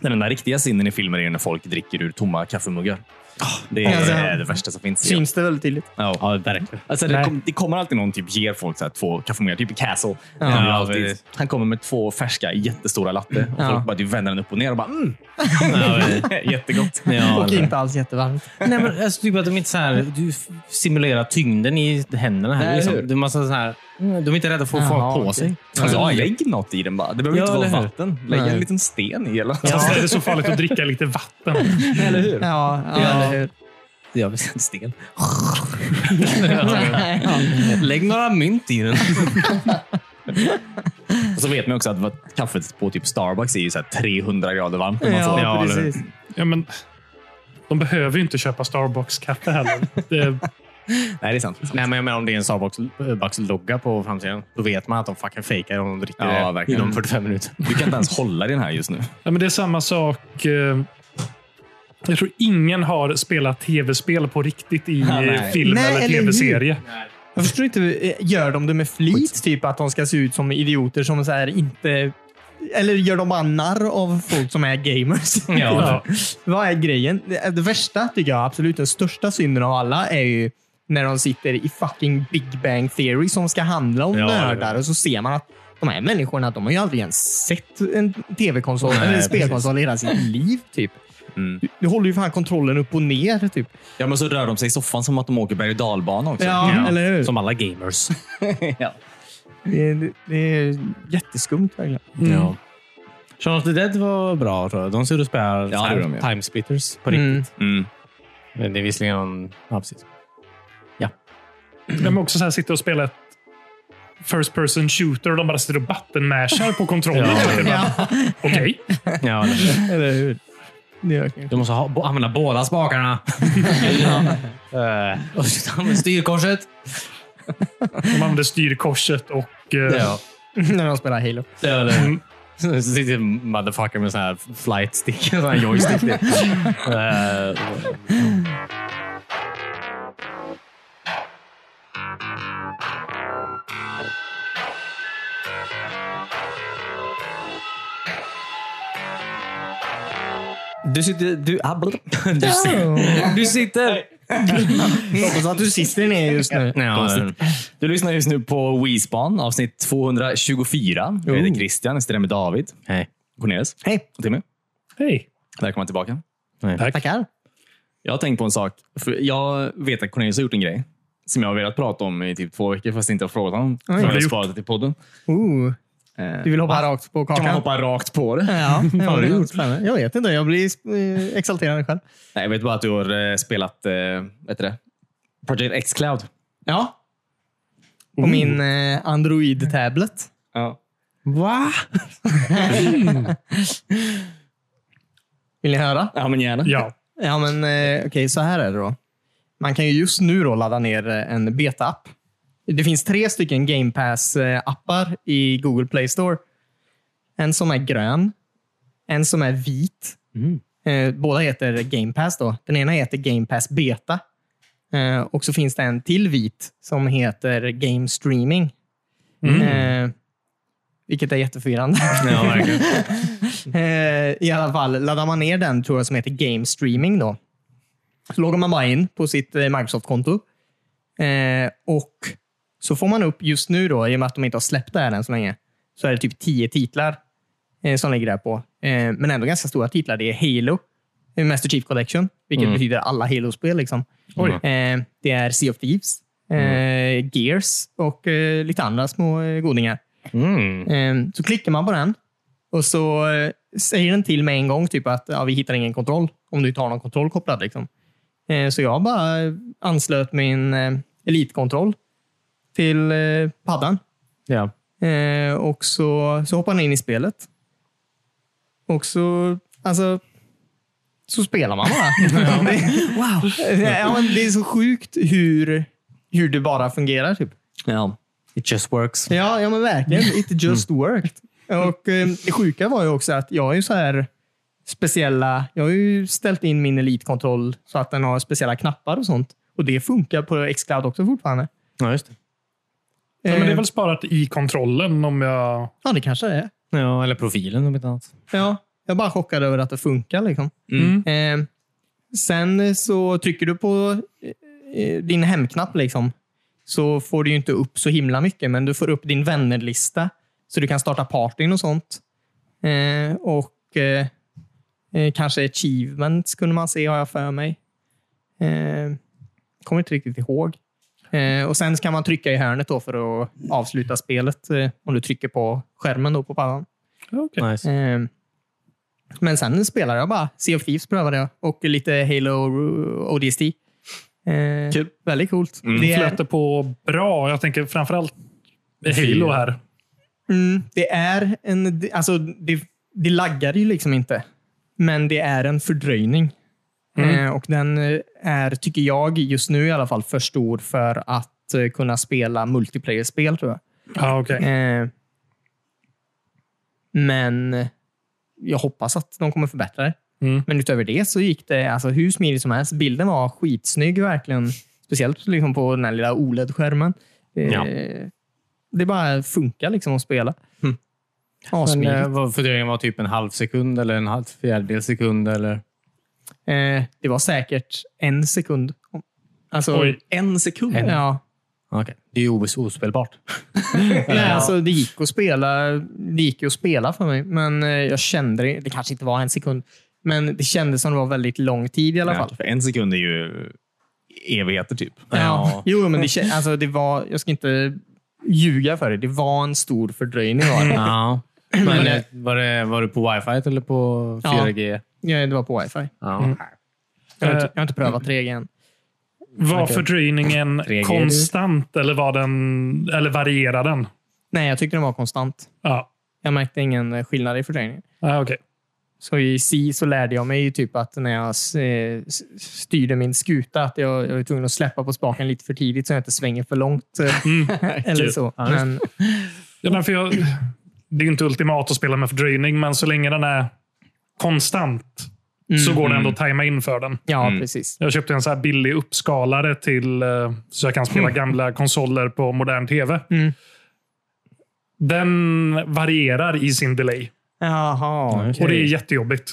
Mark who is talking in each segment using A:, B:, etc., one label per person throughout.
A: Den enda riktiga sinnen i filmer är ju när folk dricker ur tomma kaffemuggar. Det är
B: alltså,
A: det värsta som finns.
B: Syns det väldigt tydligt.
A: Ja.
C: Ja, verkligen.
A: Alltså, det,
B: Nej.
A: kom, det kommer alltid någon typ ger folk så här, två kaffemuggar, typ i Castle.
B: Ja,
A: Han-
C: alltid.
A: han kommer med två färska jättestora latte och
B: Ja.
A: folk bara typ vänder den upp och ner och bara mm. jättegott.
C: Ja,
B: Och
C: det-
B: inte alls jättevarmt.
C: Nej, men jag tycker bara att de inte så här, du f- simulerar tyngden i händerna.
A: Nej,
C: Här, liksom.
A: hur?
C: det är massa så här, mm, de är inte rädda för att få
B: Jaha,
C: folk på
B: okej.
C: sig.
A: Alltså, lägg något i den bara. Det behöver
C: Ja,
A: inte vara
C: eller hur?
A: vatten. Lägg
B: Nej.
A: en liten sten i. Eller,
D: Fast är det så farligt att dricka lite vatten?
A: eller hur?
B: Ja, ja, eller hur?
C: Ja, visst, en sten.
B: Ja.
C: Lägg några mynt i den.
A: Och så vet man också att vad- kaffet på typ Starbucks är ju så här 300 grader varmt. När man får.
B: Ja,
D: Ja, eller hur?
B: precis.
D: Ja, men, de behöver ju inte köpa Starbucks-kaffe heller. Det,
A: Nej, det är sant. Det är sant.
C: Nej, men jag menar om det är en Starbucks-logga på framsidan, då vet man att de fucking fejkar om de dricker
A: Ja,
C: det
A: verkligen.
C: inom 45 minuter.
A: Du kan inte ens hålla i den här just nu.
D: ja, men det är samma sak. eh, Jag tror ingen har spelat tv-spel på riktigt i
A: Ja, nej.
D: eh, film
B: Nej,
D: eller
B: eller hur?
D: tv-serie.
B: Jag förstår inte, eh, gör de det med flit? Typ att de ska se ut som idioter som så här inte... Eller gör de bara narr av folk som är gamers?
D: Ja.
B: Vad är grejen? Det, det värsta tycker jag, absolut den största synden av alla är ju när de sitter i fucking Big Bang Theory som ska handla om
C: Ja,
B: nördar och så ser man att de här människorna, de har ju aldrig ens sett en tv-konsol
C: Nej,
B: eller en
C: precis.
B: spelkonsol i hela sitt liv. Typ.
A: Mm.
B: Du, du håller ju fan kontrollen upp och ner. Typ.
A: Ja, men så rör de sig i soffan som att de åker berg och dalbana också. Mm.
B: Ja, eller hur?
C: Som alla gamers.
A: Ja.
B: Det, det, det är jätteskumt verkligen.
D: Mm.
C: Ja. Shaun of the Dead var bra. tror jag. De ser ut att spela
A: Ja, det gjorde de, ja.
C: time splitters på riktigt.
B: Mm.
A: Mm.
C: Men det är visserligen någon... Ja, precis.
D: De är också så här, sitter och spelar ett first person shooter och de bara sitter och button-mashar på kontrollen.
C: Ja.
D: Jag bara,
B: Ja,
D: Okej.
C: Ja, det-
B: eller hur? Det gör jag kanske.
C: Du måste ha, bo- använda båda spakarna. Eh, och så använder Styrkorset.
D: De använder styrkorset och... eh,
B: När de spelar Halo.
C: det är det. Så sitter en motherfucker med sån här flight stick, sån här joystick. Eh,
A: Du sitter... Du, ah,
C: du, sitter, du sitter...
B: Hoppas att du sitter ner just nu.
C: Ja, det-
A: du lyssnar just nu på WeSpan, avsnitt 224. Jag heter
B: Oh.
A: Christian, jag sitter här med David,
C: Nej.
A: Cornelis
B: Hej,
A: och Timmy.
D: Hej.
A: Välkomna tillbaka.
C: Nej.
B: tackar.
A: Jag har tänkt på en sak. För jag vet att Cornelius har gjort en grej som jag har velat prata om i typ två veckor fast jag inte har frågat honom. För
B: har
A: jag
D: du
A: har
D: gjort?
A: sparat det till podden.
B: Ooh,
A: Eh,
B: du vill hoppa rakt på
A: Kan man
B: kakan?
A: hoppa rakt på det?
B: Ja, det
A: har
B: var
A: du gjort?
B: spännande. Jag vet inte, jag blir eh, exalterad själv.
A: Nej, jag vet bara att du har eh, spelat eh, vad heter det? Project X Cloud.
B: Ja. På min eh, Android-tablet.
A: Ja.
B: Va? Vill ni höra?
A: ja, men gärna.
D: Ja.
B: Ja, men eh, okej, så här är det då. Man kan ju just nu då ladda ner eh, en beta-app. Det finns tre stycken Game Pass-appar i Google Play Store. En som är grön, en som är vit. Eh, båda heter Game Pass. Då. Den ena heter Game Pass Beta. Eh, och så finns det en till vit som heter Game Streaming. Eh, vilket är jätteförvirrande.
C: Ja, verkligen.
B: Eh, I alla fall, laddar man ner den tror jag som heter Game Streaming då. Så loggar man bara in på sitt eh, Microsoft-konto. Eh, och så får man upp just nu då, i och med att de inte har släppt det här än så länge, så är det typ tio titlar eh, som ligger där på. Eh, men ändå ganska stora titlar. Det är Halo, eh, Master Chief Collection, vilket
C: Mm.
B: betyder alla Halo-spel. Liksom.
D: Oj.
B: Eh, det är Sea of Thieves, eh,
C: Mm.
B: Gears och eh, lite andra små eh, godingar.
C: Mm.
B: Ehm, Så klickar man på den och så eh, säger den till mig en gång typ att ja, vi hittar ingen kontroll om du inte har någon kontroll kopplad. Liksom. Eh, Så jag bara eh, anslöt min eh, elitkontroll till eh, paddan
C: Ja.
B: Eh, och så, så hoppar man in i spelet. Och så, alltså, så spelar man bara. wow. Ja, men det är så sjukt hur, hur det bara fungerar. Typ.
A: Ja.
C: It just works.
B: Ja, ja men
D: Mm.
B: verkligen. It just worked. Och eh, det sjuka var ju också att jag är ju så här speciella. Jag har ju ställt in min elitkontroll så att den har speciella knappar och sånt. Och det funkar på Xcloud också fortfarande.
C: Ja, just det.
D: Ja, men det är
B: Eh,
D: väl sparat i kontrollen om jag...
B: Ja, det kanske det är.
C: Ja, eller profilen om inte annat.
B: Ja, Jag är bara chockad över att det funkar. Liksom.
A: Mm.
B: Eh, sen så trycker du på eh, din hemknapp liksom, så får du ju inte upp så himla mycket, men du får upp din vännerlista så du kan starta partyn och sånt. Eh, och eh, eh, kanske achievements kunde man se, har jag för mig. Eh, kommer inte riktigt ihåg. Eh, och Sen kan man trycka i hörnet då för att avsluta spelet eh, om du trycker på skärmen då på paddan.
D: Okej.
C: Nice.
B: Eh, men sen spelar jag bara. Sea of Thieves prövade jag och lite Halo ODST. Eh,
A: Kul.
B: Väldigt coolt.
A: Mm.
B: Det, är,
D: Flöt det på bra. Jag tänker framförallt Halo här.
B: mm, det är en... det- Alltså, det, det laggar ju liksom inte. Men det är en fördröjning.
A: Mm.
B: Eh, och den eh, är, tycker jag, just nu i alla fall, för stor för att eh, kunna spela multiplayer-spel, tror jag.
D: Ja, okej.
B: Eh, men jag hoppas att de kommer förbättra det.
D: Mm.
B: Men utöver det så gick det alltså, hur smidigt som helst. Bilden var skitsnygg verkligen. Speciellt liksom på den här lilla OLED-skärmen. Eh,
C: Ja.
B: Det bara funkar liksom att spela.
C: Mm. Men,
B: Assmidigt.
C: eh, vad fördröjningen var typ en halv sekund eller en halv fjärdedels sekund? Eller?
B: Eh, det var säkert en sekund. Alltså,
D: Oj.
A: En sekund?
B: ja.
C: Okej. Det är ju os- ospelbart.
B: Nej, alltså, det, gick att spela, det gick ju att spela för mig, men eh, jag kände det. Det kanske inte var en sekund, men det kändes som det var väldigt lång tid i alla fall.
A: Ja, för en sekund är ju evigheter typ.
B: Ja. Jo, men det, kän- alltså, det var, jag ska inte ljuga för det. Det var en stor fördröjning. Var det.
C: Ja. Men, eh, var, det, var det på wifi eller på
B: Ja.
C: 4G?
B: Ja, det var på wifi.
C: Ja.
B: Jag har inte,
D: Eh,
B: jag har inte prövat 3G än.
D: Var fördröjningen
C: 3G.
D: konstant eller, var den, eller varierar den?
B: Nej, jag tyckte den var konstant.
D: Ja,
B: Jag märkte ingen eh, skillnad i fördröjningen.
D: ah, okej.
B: Så i C så lärde jag mig ju typ att när jag eh, s- styrde min skuta att jag, jag var tvungen att släppa på spaken lite för tidigt så jag inte svänger för långt. eh, Eller så. Men,
D: Ja, men för jag, det är ju inte ultimat att spela med fördröjning, men så länge den är konstant så går det ändå att tajma in för den.
B: ja,
A: Mm.
B: precis.
D: Jag köpte en så här billig uppskalare till eh, så jag kan spela gamla konsoler på modern tv.
B: Mm.
D: Den varierar i sin delay
B: Jaha.
D: och det är
B: okej.
D: jättejobbigt.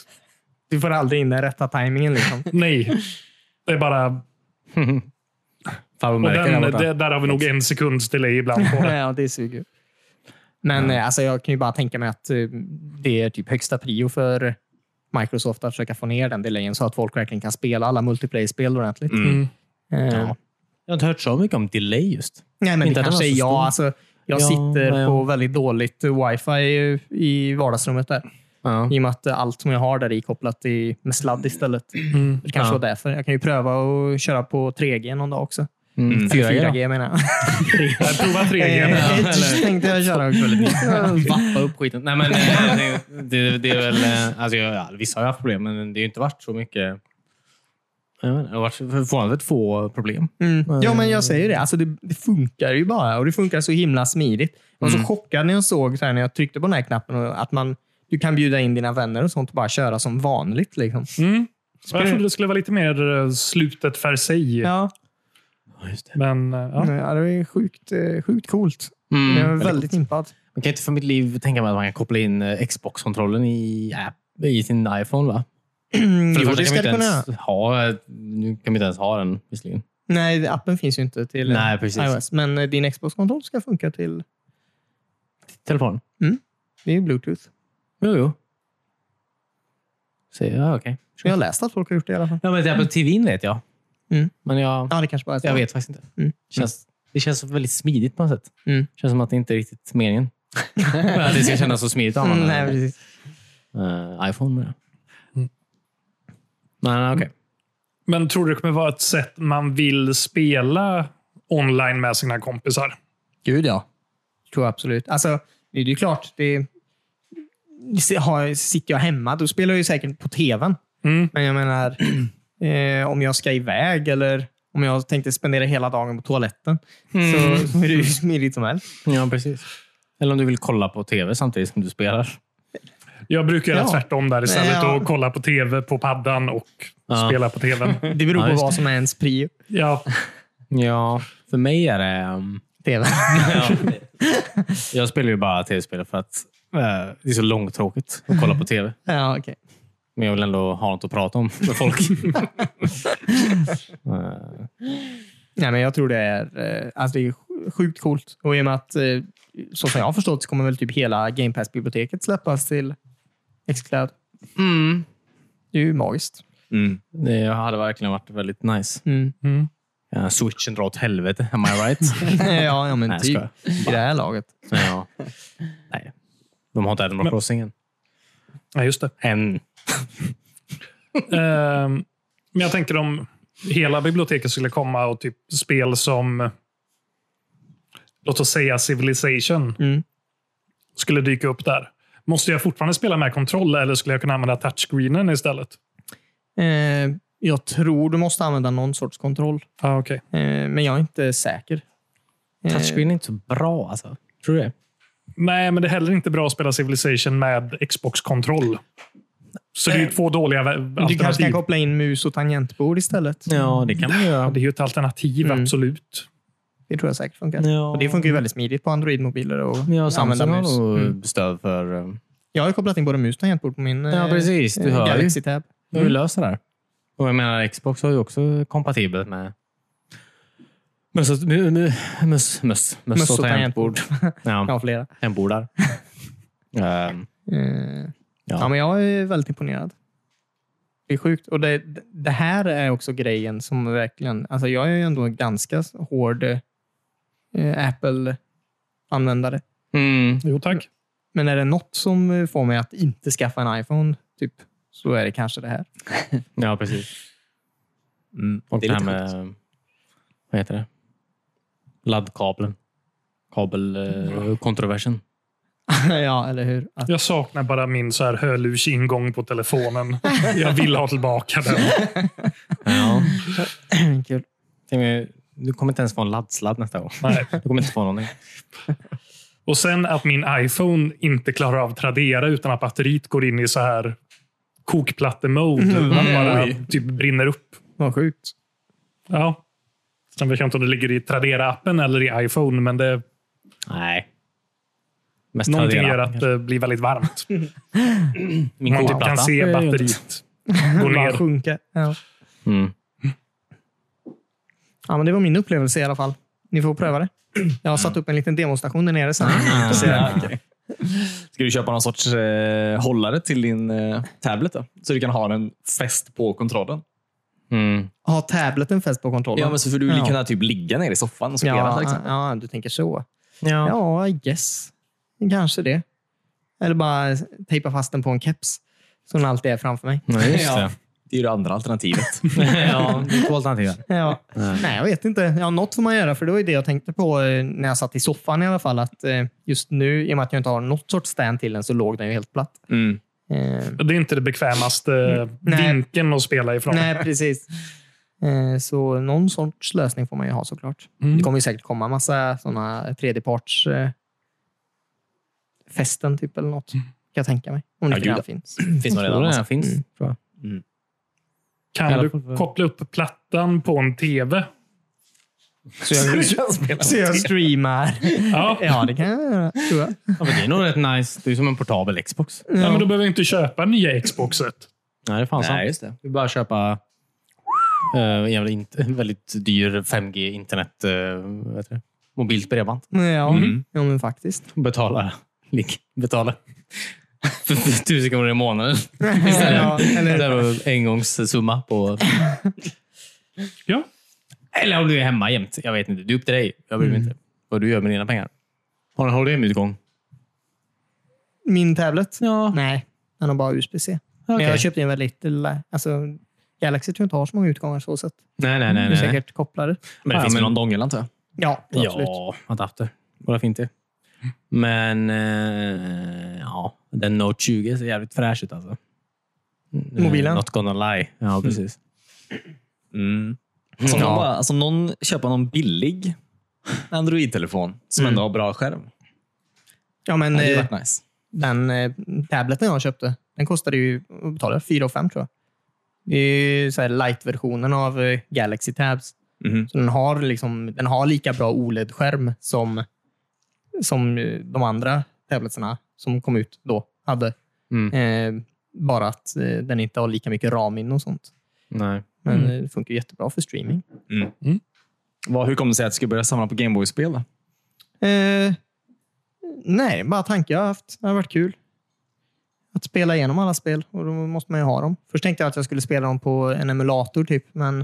B: Du får aldrig in den rätta tajmingen. Liksom.
D: Nej, det är bara...
C: Mm. Farbror
D: Och
C: märker
D: den,
C: där borta.
D: det, där har vi nog en sekunds delay ibland på det.
B: ja, det suger. Men eh, alltså, jag kan ju bara tänka mig att eh, det är typ högsta prio för Microsoft att försöka få ner den delayen så att folk verkligen kan spela alla multiplayer-spel ordentligt.
D: Mm.
B: Eh,
C: Ja. Jag har inte hört så mycket om delay just.
B: Nej, men
C: Inte
B: det
C: att den
B: kanske
C: var
B: är
C: så
B: jag.
C: stor.
B: Alltså, jag
C: Ja,
B: sitter
C: ja, ja.
B: på väldigt dåligt eh, wifi i- i vardagsrummet där.
C: Ja.
B: I och med att eh, allt som jag har där är kopplat i, med sladd istället. Det kanske
C: Mm. Ja.
B: var därför. Jag kan ju pröva att köra på 3G någon dag också.
C: Mm.
B: Eller
C: 4G då?
B: 4G menar jag.
D: Jag provar 3G.
B: Eh, Edge tänkte jag köra också.
C: Vappa upp skiten. Nej, men, eh, det, det, det är väl, eh, alltså, jag, ja, vissa har ju haft problem, men det har ju inte varit så mycket. Jag vet inte, Det har varit förvånansvärt få problem.
B: Mm. Ja, men jag säger det. Alltså, det. Det funkar ju bara och det funkar så himla smidigt. Jag var så
C: Mm.
B: chockad när jag såg så här, när jag tryckte på den här knappen och att man du kan bjuda in dina vänner och sånt och bara köra som vanligt. Liksom.
D: Mm. Jag trodde det skulle vara lite mer eh, slutet för sig.
B: Ja.
D: Men eh, ja.
B: ja, det är sjukt, eh, sjukt coolt.
C: Mm.
B: Jag är
C: Väldigt
B: väldigt impad.
C: Man kan inte för mitt liv tänka mig att man kan koppla in eh, Xbox-kontrollen i, app- i sin iPhone, va? För
B: Jo,
C: första
B: det
C: kan
B: ska
C: vi
B: du
C: inte
B: kunna göra.
C: ens ha, nu kan vi inte ens ha den visserligen.
B: Nej, appen finns ju inte till eh,
C: Nej, precis.
B: iOS. Men eh, din Xbox-kontroll ska funka till
C: Telefon?
B: det är ju Bluetooth.
C: Jo, jo. Så, ja, okej.
B: Så jag har läst att folk har gjort det i alla fall.
C: Ja, men Apple TV vet jag.
B: Mm.
C: Men jag,
B: Ja, det kanske bara är så.
C: jag vet faktiskt inte.
B: Mm.
C: Känns, det känns väldigt smidigt på något sätt.
B: Mm.
C: känns som att det inte är riktigt meningen. att det ska kännas så smidigt av
B: Mm,
C: mm,
B: nej, precis.
C: iPhone med det. Mm. Men okej.
D: Men tror du det kommer vara ett sätt man vill spela online med sina kompisar?
B: Gud ja. Tror jag absolut. Alltså, det är ju klart. Det det har, sitter jag hemma, då spelar jag ju säkert på tvn.
D: Mm.
B: Men jag menar, eh, om jag ska iväg eller om jag tänkte spendera hela dagen på toaletten så, så är det ju smidigt som helst.
C: Mm. Ja, precis. Eller om du vill kolla på tv samtidigt som du spelar.
D: Jag brukar göra
B: Ja.
D: tvärtom där istället
B: Ja.
D: och kolla på tv på paddan och
C: Ja.
D: spela på tvn.
B: Det beror
C: Ja,
B: på
C: just
B: vad som är ens prio.
D: Ja,
C: Ja, för mig är det... ehm,
B: TV.
C: ja. Jag spelar ju bara tv-spel för att Eh, Det är så långtråkigt att kolla på tv.
B: Ja, okej.
C: Men jag vill ändå ha något att prata om med folk.
B: Nej, men jag tror det är, eh, alltså det är sj- sjukt coolt. Och i och med att, eh, så som jag har förstått, så kommer väl typ hela Game Pass-biblioteket släppas till Xcloud.
C: mm.
B: Det är ju magiskt.
A: Mm.
C: Det hade verkligen varit väldigt nice.
B: Mm.
D: Mm.
C: Ja, Switchen drar åt helvete, am I right?
B: ja, ja, men
C: Nej, jag
B: typ
C: skojar.
B: i det här laget.
C: Men ja. Nej. De har inte Animal
D: Men-
C: Crossing än.
D: Ja, just det.
C: Än.
D: Ehm, Men jag tänker om hela biblioteket skulle komma och typ spel som låt oss säga Civilization
B: Mm.
D: skulle dyka upp där. Måste jag fortfarande spela med kontroll eller skulle jag kunna använda touchscreenen istället?
B: Eh, jag tror du måste använda någon sorts kontroll,
D: Ah, okay.
B: eh, men jag är inte säker. Eh,
C: Touchscreen är inte så bra alltså. Tror du det?
D: Nej, men det är heller inte bra att spela Civilization med Xbox-kontroll. Så det är ju två dåliga vä-
B: Eh, Du kanske
D: alternativ.
B: kan koppla in mus och tangentbord istället.
C: Mm. Ja, det kan man
D: Ja,
C: göra.
D: det är ju ett alternativ,
B: Mm.
D: absolut.
B: Det tror jag säkert funkar.
C: Ja.
B: Och det funkar ju väldigt smidigt på Android-mobiler och
C: Ja,
B: använda
C: Samsung har
B: mus.
C: nog
B: Mm.
C: stöd för... eh,
B: Jag har ju kopplat in både mus och tangentbord på min
C: Ja,
B: eh,
C: precis. Du
B: eh,
C: hör ju.
B: Galaxy Tab.
C: hur vi löser det här. Och jag menar, Xbox har ju också kompatibelt med möss och mu- mu- möss- möss- möss och tangentbord. Ja,
B: Ja, flera. Eh,
C: hembordar. Ehm,
B: Ja.
C: Ja.
B: men jag är väldigt imponerad. Det är sjukt. Och det, det här är också grejen som verkligen... Alltså jag är ju ändå en ganska hård eh, Apple-användare.
C: Mm.
D: Jo, tack.
B: Men är det något som eh, får mig att inte skaffa en iPhone, typ, så är det kanske det här.
C: Ja, precis.
A: Mm.
C: Och det,
A: är
C: här
A: lite sjukt.
C: med... Vad heter det? Laddkabeln. eh, Kabelkontroversen.
B: ja, eller hur? Att,
D: Jag saknar bara min så här hörlursingång på telefonen. Jag vill ha tillbaka den.
C: Ja.
B: kul.
C: Tänk mig, Du kommer inte ens få en laddsladd nästa år.
D: Nej.
C: Du kommer inte få någonting.
D: Och sen att min iPhone inte klarar av Tradera utan att batteriet går in i så här kokplatte-mode.
B: Mm-hmm.
D: Man bara typ brinner upp.
B: Vad sjukt.
D: Ja. Sen vet jag inte om det ligger i Tradera-appen eller i iPhone, men det
C: Nej. Mest
D: någonting
C: Tradera.
D: gör att det blir väldigt varmt.
C: Min
D: Man typ
C: kolplatta.
D: kan se
C: Det är ju inte-
D: batteriet gå
B: Bara
D: ner.
B: sjunka. Ja.
C: Mm.
B: ja, men det var min upplevelse i alla fall. Ni får pröva det. Jag har satt upp en liten demostation där nere sen.
A: Ja, Ah, okej. Ska du köpa någon sorts eh, hållare till din eh, tablet? Då? Så du kan ha den fäst på kontrollen?
C: Mm.
B: Har tableten fäst på kontrollen?
A: Ja, men så får du
B: Ja.
A: kunna typ ligga ner i soffan och spela. liksom. till
B: ja,
A: exempel.
B: ja, du tänker så.
C: Ja.
B: Ja, yes. Kanske det. Eller bara tejpa fast den på en keps som den alltid är framför mig.
C: Ja, just
A: Ja.
C: det.
A: Det är ju det andra alternativet.
C: ja, det är två alternativ.
B: Ja. Nej, jag vet inte. Ja, något får man göra, för det var ju det jag tänkte på eh, när jag satt i soffan i alla fall. Att eh, just nu, i och med att jag inte har något sorts stand till den, så låg den ju helt platt.
A: Mm.
B: Eh,
D: Det är inte det bekvämaste
B: Mm. Nej.
D: vinkeln att spela ifrån.
B: nej, precis. Eh, så någon sorts lösning får man ju ha såklart.
D: Mm.
B: Det kommer ju säkert komma massa sådana tredjeparts eh, fästen typ eller något. Kan jag tänka mig. Om det
A: Ja,
B: redan
A: gud.
B: finns.
A: finns nog
C: Jag
A: redan.
C: tror den
A: Alltså.
C: här finns.
B: Mm.
C: Tror jag. i
D: Kan
C: alla
D: du
C: fall för-
D: koppla upp plattan på en tv?
B: Så jag, så jag streamar.
D: Ja.
B: Ja, det kan jag göra, tror jag.
C: Ja, men det är nog rätt nice. Det är som en portabel Xbox.
D: Nej, men då behöver jag inte köpa nya Xboxet.
C: Nej, det fanns
A: Nej, just det.
C: Du bara köpa eh, en jävla int- en väldigt dyr 5G internet, eh, vad heter det? mobilt bredband.
B: Ja, ja men faktiskt.
C: Betala. Lik. Betala. För- För tusen kronor i månaden.
B: Ja, eller,
C: Det var en engångssumma på...
D: Ja.
C: Eller om du är hemma jämt. Jag vet inte. Det är upp till dig. Jag bryr mig inte. Vad du gör med dina pengar. Har du en HDMI-utgång?
B: min tablet?
C: Ja.
B: Nej, den har bara USB-C. Men
C: Okej.
B: jag köpte en väldigt lilla... Alltså, Galaxy tror jag inte har så många utgångar så sett.
C: Nej, nej, nej.
B: Det är
C: nej.
B: säkert kopplade.
A: Men det
C: Mm, Ja,
A: finns
C: men-
A: väl någon dongel antar jag?
B: Ja, absolut.
C: Ja, adapter. Vad fint det Men eh, ja, den Note 20 ser jävligt fräsch ut alltså. Eh,
B: Mobilen?
C: Not gonna lie. Ja, precis.
A: Mm. Så om
C: Ja.
A: någon, bara, alltså om någon köper någon billig Android-telefon som ändå har bra skärm.
B: Ja, men
A: Det hade ju
B: eh,
A: varit nice.
B: den eh, tableten jag köpte, den kostade ju vad betalade jag? 4 5 tror jag. Det är ju så här light-versionen av eh, Galaxy Tabs.
A: Mhm.
B: Så den E har, liksom, den har lika bra OLED-skärm som, som eh, de andra tabletserna som kom ut då hade.
C: Mm.
B: Eh, bara att eh, den inte har lika mycket RAM-in och sånt.
C: Nej.
B: Men eh, det funkar ju jättebra för streaming.
A: Vad, hur kom det sig att du skulle börja samla på Gameboy-spel? då?
B: Eh, nej, bara tanke jag har haft. Det har varit kul. Att spela igenom alla spel och då måste man ju ha dem. Först tänkte jag att jag skulle spela dem på en emulator typ, men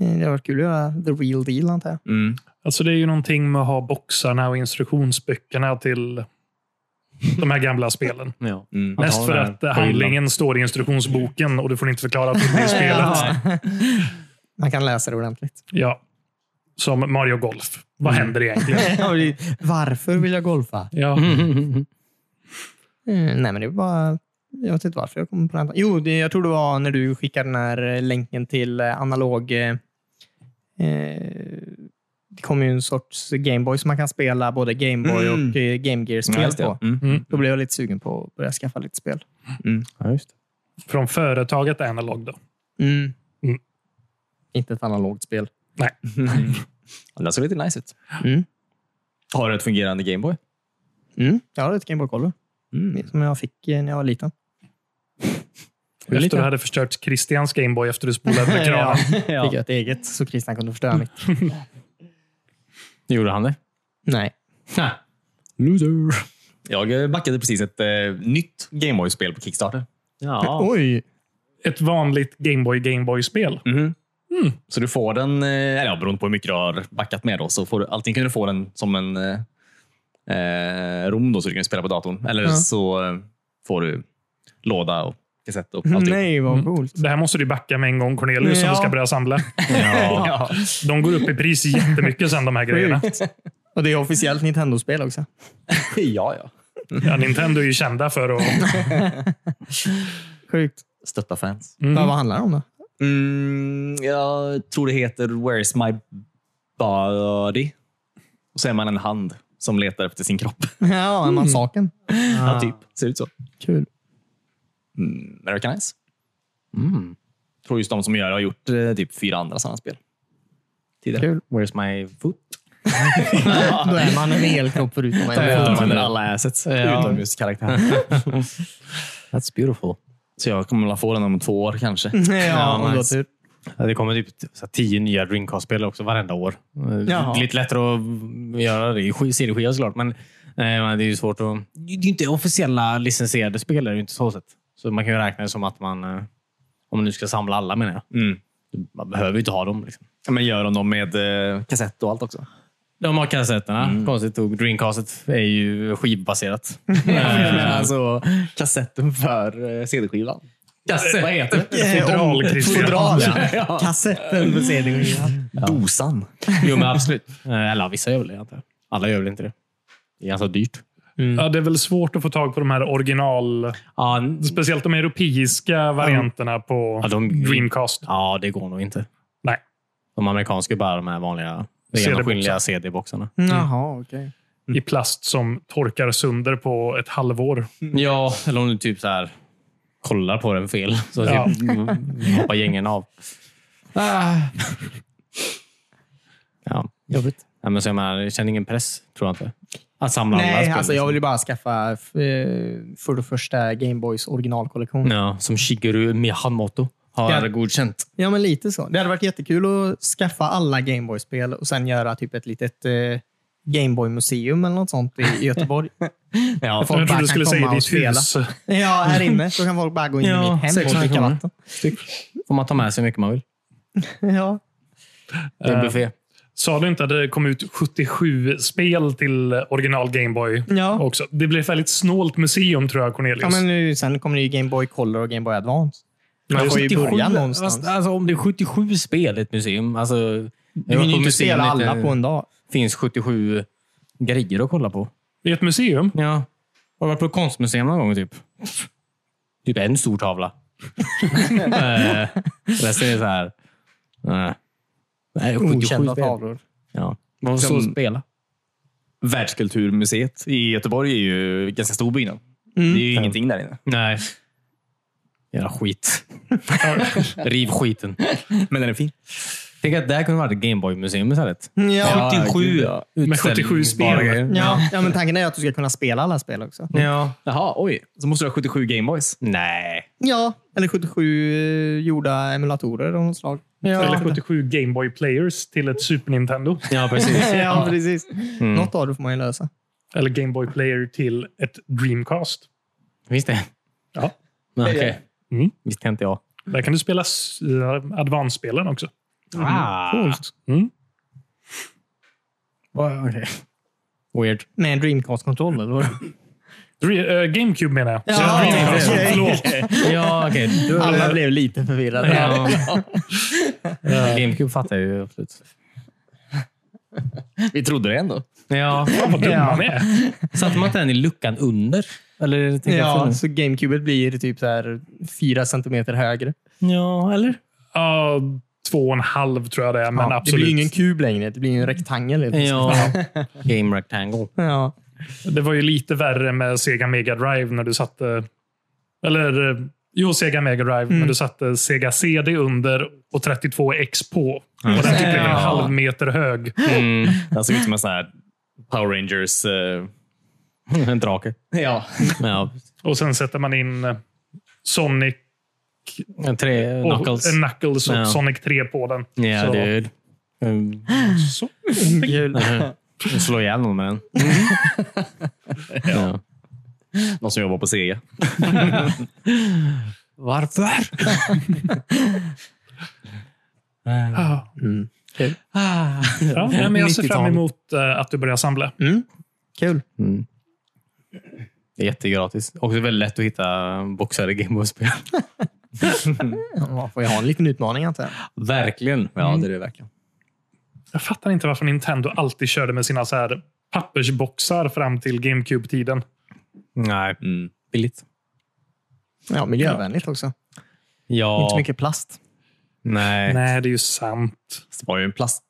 B: eh, det har varit kul att göra the real deal antar jag.
A: Mm.
D: Alltså det är ju någonting med att ha boxarna och instruktionsböckerna till de här gamla spelen.
C: Ja.
A: Mm.
C: Att
D: Mest
C: ha
D: för
C: den här
D: att
C: på
D: handlingen står i instruktionsboken och du får inte förklara att det är spelet.
B: Man kan läsa det ordentligt.
D: Ja. Som Mario Golf. Vad
C: Mm.
D: händer egentligen?
B: Varför vill jag golfa?
D: Ja.
C: Mm.
B: Eh, nej, men det var... Jag vet inte varför jag kom på den. här- Jo, det, jag tror det var när du skickade den här eh, länken till eh, analog... Eh, eh, det kom ju en sorts Gameboy som man kan spela både Gameboy
A: Mm.
B: och eh, Game
A: Ja,
B: Gear-spel
A: just det.
B: på.
A: Mm.
B: Då blev jag lite sugen på att börja skaffa lite spel.
C: Ja, just det.
D: Från företaget Analog då. Mm.
B: Inte ett analogt spel.
A: Ja, Det såg lite nice ut.
B: Mm.
A: Mm. Har du ett fungerande Gameboy?
B: Mm. Jag har ett Gameboy-kollo
A: Mm.
B: som jag fick eh, när jag var liten.
D: Efter du hade förstört Christians Gameboy efter du spolade kranen.
B: Fick jag ett eget så Christian kunde förstöra mitt.
C: Gjorde han det?
B: Nej.
A: Loser. Jag backade precis ett eh, nytt Gameboy-spel på Kickstarter.
C: Ja.
B: Oj!
D: Ett vanligt Gameboy Gameboy-spel.
A: Så du får den, eh, eller ja, beroende på hur mycket du har backat med, då, så får du, allting kan du få den som en eh, eh, rom då, så du kan spela på datorn. Eller
B: Ja.
A: så eh, får du låda och kassett och allting.
B: Mm, Nej, vad coolt.
D: Det här måste du backa med en gång Cornelius om
B: Ja.
D: du ska börja samla.
A: Ja.
D: De går upp i pris jättemycket sen de här grejerna.
B: Och det är officiellt Nintendo-spel också.
A: ja, ja.
D: Ja, Nintendo är ju kända för att...
B: Sjukt.
A: Stötta fans.
D: Mm.
B: Vad handlar det om då?
A: Mm, jag tror det heter Where's my body? Och så är man en hand som letar efter sin kropp.
B: Ja, mm. massaken.
A: Ja, typ. Ser ut så.
B: Kul.
A: Mm, men det verkar nice. Mm. Tror just de som gör det har gjort eh, typ fyra andra sådana spel. Tidigare.
B: Kul.
C: Where's my foot?
B: Då är man en hel kropp förutom en.
A: man alla assets. Utom just karaktären.
C: That's beautiful.
A: Så jag kommer väl få den om två år kanske.
B: Ja, om du har
C: nice.
B: tur.
C: Ja, det kommer typ så här tio nya Dreamcast-spel också varenda år. Eh,
B: Jaha.
C: Lite lättare att göra det i sk- CD-skiva såklart, men eh, men det är ju svårt att... Det är ju inte officiella licensierade spel, är det ju inte så sett. Så man kan ju räkna det som att man... eh, Om man nu ska samla alla menar jag.
A: Mm.
C: Man behöver ju inte ha dem. Liksom.
A: Ja, Men gör de dem med eh, kassett och allt också?
C: De har kassetterna. Konstigt nog. Dreamcastet är ju skivbaserat. Eh,
A: alltså kassetten för eh, CD-skivan.
C: Kasse, vad heter det?
D: Fodral, Christian.
B: Fodral.
A: Ja.
B: Kassetten på CD-skivan.
A: Dosan.
C: Jo, men absolut. Eh, Eller vissa gör väl det, antar jag. Alla gör väl inte det. Det är ganska dyrt.
D: Ja, det är väl svårt att få tag på de här original...
C: Ja, n-
D: Speciellt de europeiska varianterna på
C: Ja, de-
D: Dreamcast.
C: ja, det går nog inte.
D: Nej.
C: De amerikanska är bara de här vanliga
D: CD-boxar.
C: genomskinliga CD-boxarna.
B: Jaha, okej.
D: I plast som torkar sönder på ett halvår.
C: Mm. Ja, eller om du typ så här kollar på den fel. Så
D: Ja.
C: typ hoppar gängen av.
B: Ah.
C: Ja, jobbigt. Ja, men så jag, menar, jag känner ingen press, tror jag inte. Att samla alla
B: Nej,
C: spel,
B: alltså jag
C: liksom.
B: vill ju bara skaffa eh, för det första Gameboys originalkollektion.
C: ja, Som Shigeru Miyamoto har
B: Ja.
C: godkänt.
B: Ja, men lite så. Det hade varit jättekul att skaffa alla Gameboy-spel och sen göra typ ett litet eh, Gameboy-museum eller något sånt i i Göteborg.
A: Ja,
B: Folk
D: jag
B: bara
D: trodde du
B: kan
D: skulle säga
B: komma
D: i
B: och
D: ditt
B: spela.
D: hus.
B: Ja, här inne. Då kan folk bara gå in i mitt hem och dricka vatten.
C: styck. Får man ta med sig hur mycket man vill.
B: Ja.
C: Det
B: Eh.
C: är en buffé.
D: Sa du inte att det kom ut 77 spel till original Gameboy?
B: Ja.
D: Också. Det blev ett väldigt snålt museum tror jag, Cornelius.
B: ja, men nu, sen kommer det ju Game Boy Color och Game Boy Advance. Man får ju
C: 77
B: börja någonstans.
C: Fast, alltså, om det är 77 spel i ett museum. Alltså,
B: Du
C: jag var
B: hinner ju
C: på
B: inte
C: museum
B: spela
C: lite-
B: alla på en dag.
C: finns 77 grejer att kolla på.
D: I ett museum?
C: Ja. Har du varit på konstmuseum någon gång? Typ Typ en stor tavla. Eh, Resten är så här... eh, Nej, 77
B: Okända
C: spel.
B: tavlor.
C: Ja. Vad så
A: Som-
C: spela?
A: Världskulturmuseet i Göteborg är ju ganska stor byggnad.
C: Mm.
A: Det är ju ingenting där inne.
C: Nej. Jävla skit. Riv skiten.
A: Men den är fin.
C: Tänk att det här kunde varit Gameboy-museum istället.
B: Ja.
C: 77
A: gud, ja.
D: Med 77
C: utställningsbara
D: spel.
C: grejer.
B: Ja. ja, men tanken är att du ska kunna spela alla spel också.
C: Ja.
A: Jaha, oj. Så måste du ha 77 Gameboys.
C: Nej.
B: Ja, eller 77 gjorda emulatorer av något slag.
D: Eller 77 Game Boy Players till ett Super Nintendo.
C: Ja, precis.
B: ja, precis. Något av det får man ju lösa.
D: Eller Game Boy Player till ett Dreamcast.
C: Visst det?
D: Ja.
C: Men Okej.
D: Mm.
C: Visste inte jag.
D: Där kan du spela s- eh, Advance-spelen också.
C: Ah.
D: Coolt. Mm.
C: Weird.
B: Med en Dreamcast-kontroll, eller vad?
D: Dre- eh, GameCube menar jag.
B: Ja,
D: Dreamcast,
B: okej.
D: förlåt.
C: Ja, okej. Du-
B: Alla blev lite förvirrade.
C: Ja. Gamecube fattar jag ju absolut.
A: Vi trodde det ändå.
C: Ja.
D: Fan vad dum
B: Ja.
D: man är.
C: Satte man inte den i luckan under? Eller tänker jag
B: Ja,
C: fel
B: så GameCubet blir typ så här fyra centimeter högre.
C: nu? ja, eller?
D: Ja, två och en halv tror jag det är, men
B: ja, det
D: absolut.
B: blir ju ingen kub längre. Det blir ju en rektangel. helt plötsligt.
C: Ja. Game rectangle.
B: Ja.
D: Det var ju lite värre med Sega Mega Drive när du satte... Eller, eh, jo, Sega Mega Drive,
C: Mm.
D: men du satte Sega CD under och 32X på. Och den typ blev en
C: Ja.
D: halv meter hög.
C: Mm.
A: Den såg ut som Alltså, liksom en sån här Power Rangers... eh,
C: En drake.
A: ja.
C: Ja.
D: Och sen sätter man in eh, Sonic
C: En Tre
D: och
C: knuckles.
D: eh, Knuckles och
C: Ja.
D: Sonic 3 på den.
C: Ja,
D: Så-
C: dude. Mm.
D: så.
B: Kul.
C: Mm-hmm. Slå ihjäl någon med den. Ja.
A: Någon som jobbar på E. Sega.
C: Varför?
D: Ja.
B: Mm.
D: Ja, nej, men jag ser fram
C: 90-tal.
D: emot eh, att du börjar samla.
B: Kul.
C: Det är jättegratis. Och det är väldigt lätt att hitta boxade Gameboy-spel.
B: Ja, man får jag ha en liten utmaning antar jag.
C: Verkligen.
A: Ja, det är det verkligen.
D: Jag fattar inte varför Nintendo alltid körde med sina så här pappersboxar fram till GameCube-tiden.
C: Nej,
A: Mm.
C: billigt.
B: Ja, miljövänligt också.
C: Ja.
B: Inte så mycket plast.
C: Nej.
D: Nej, det är ju sant.
A: Så Det var ju en plast,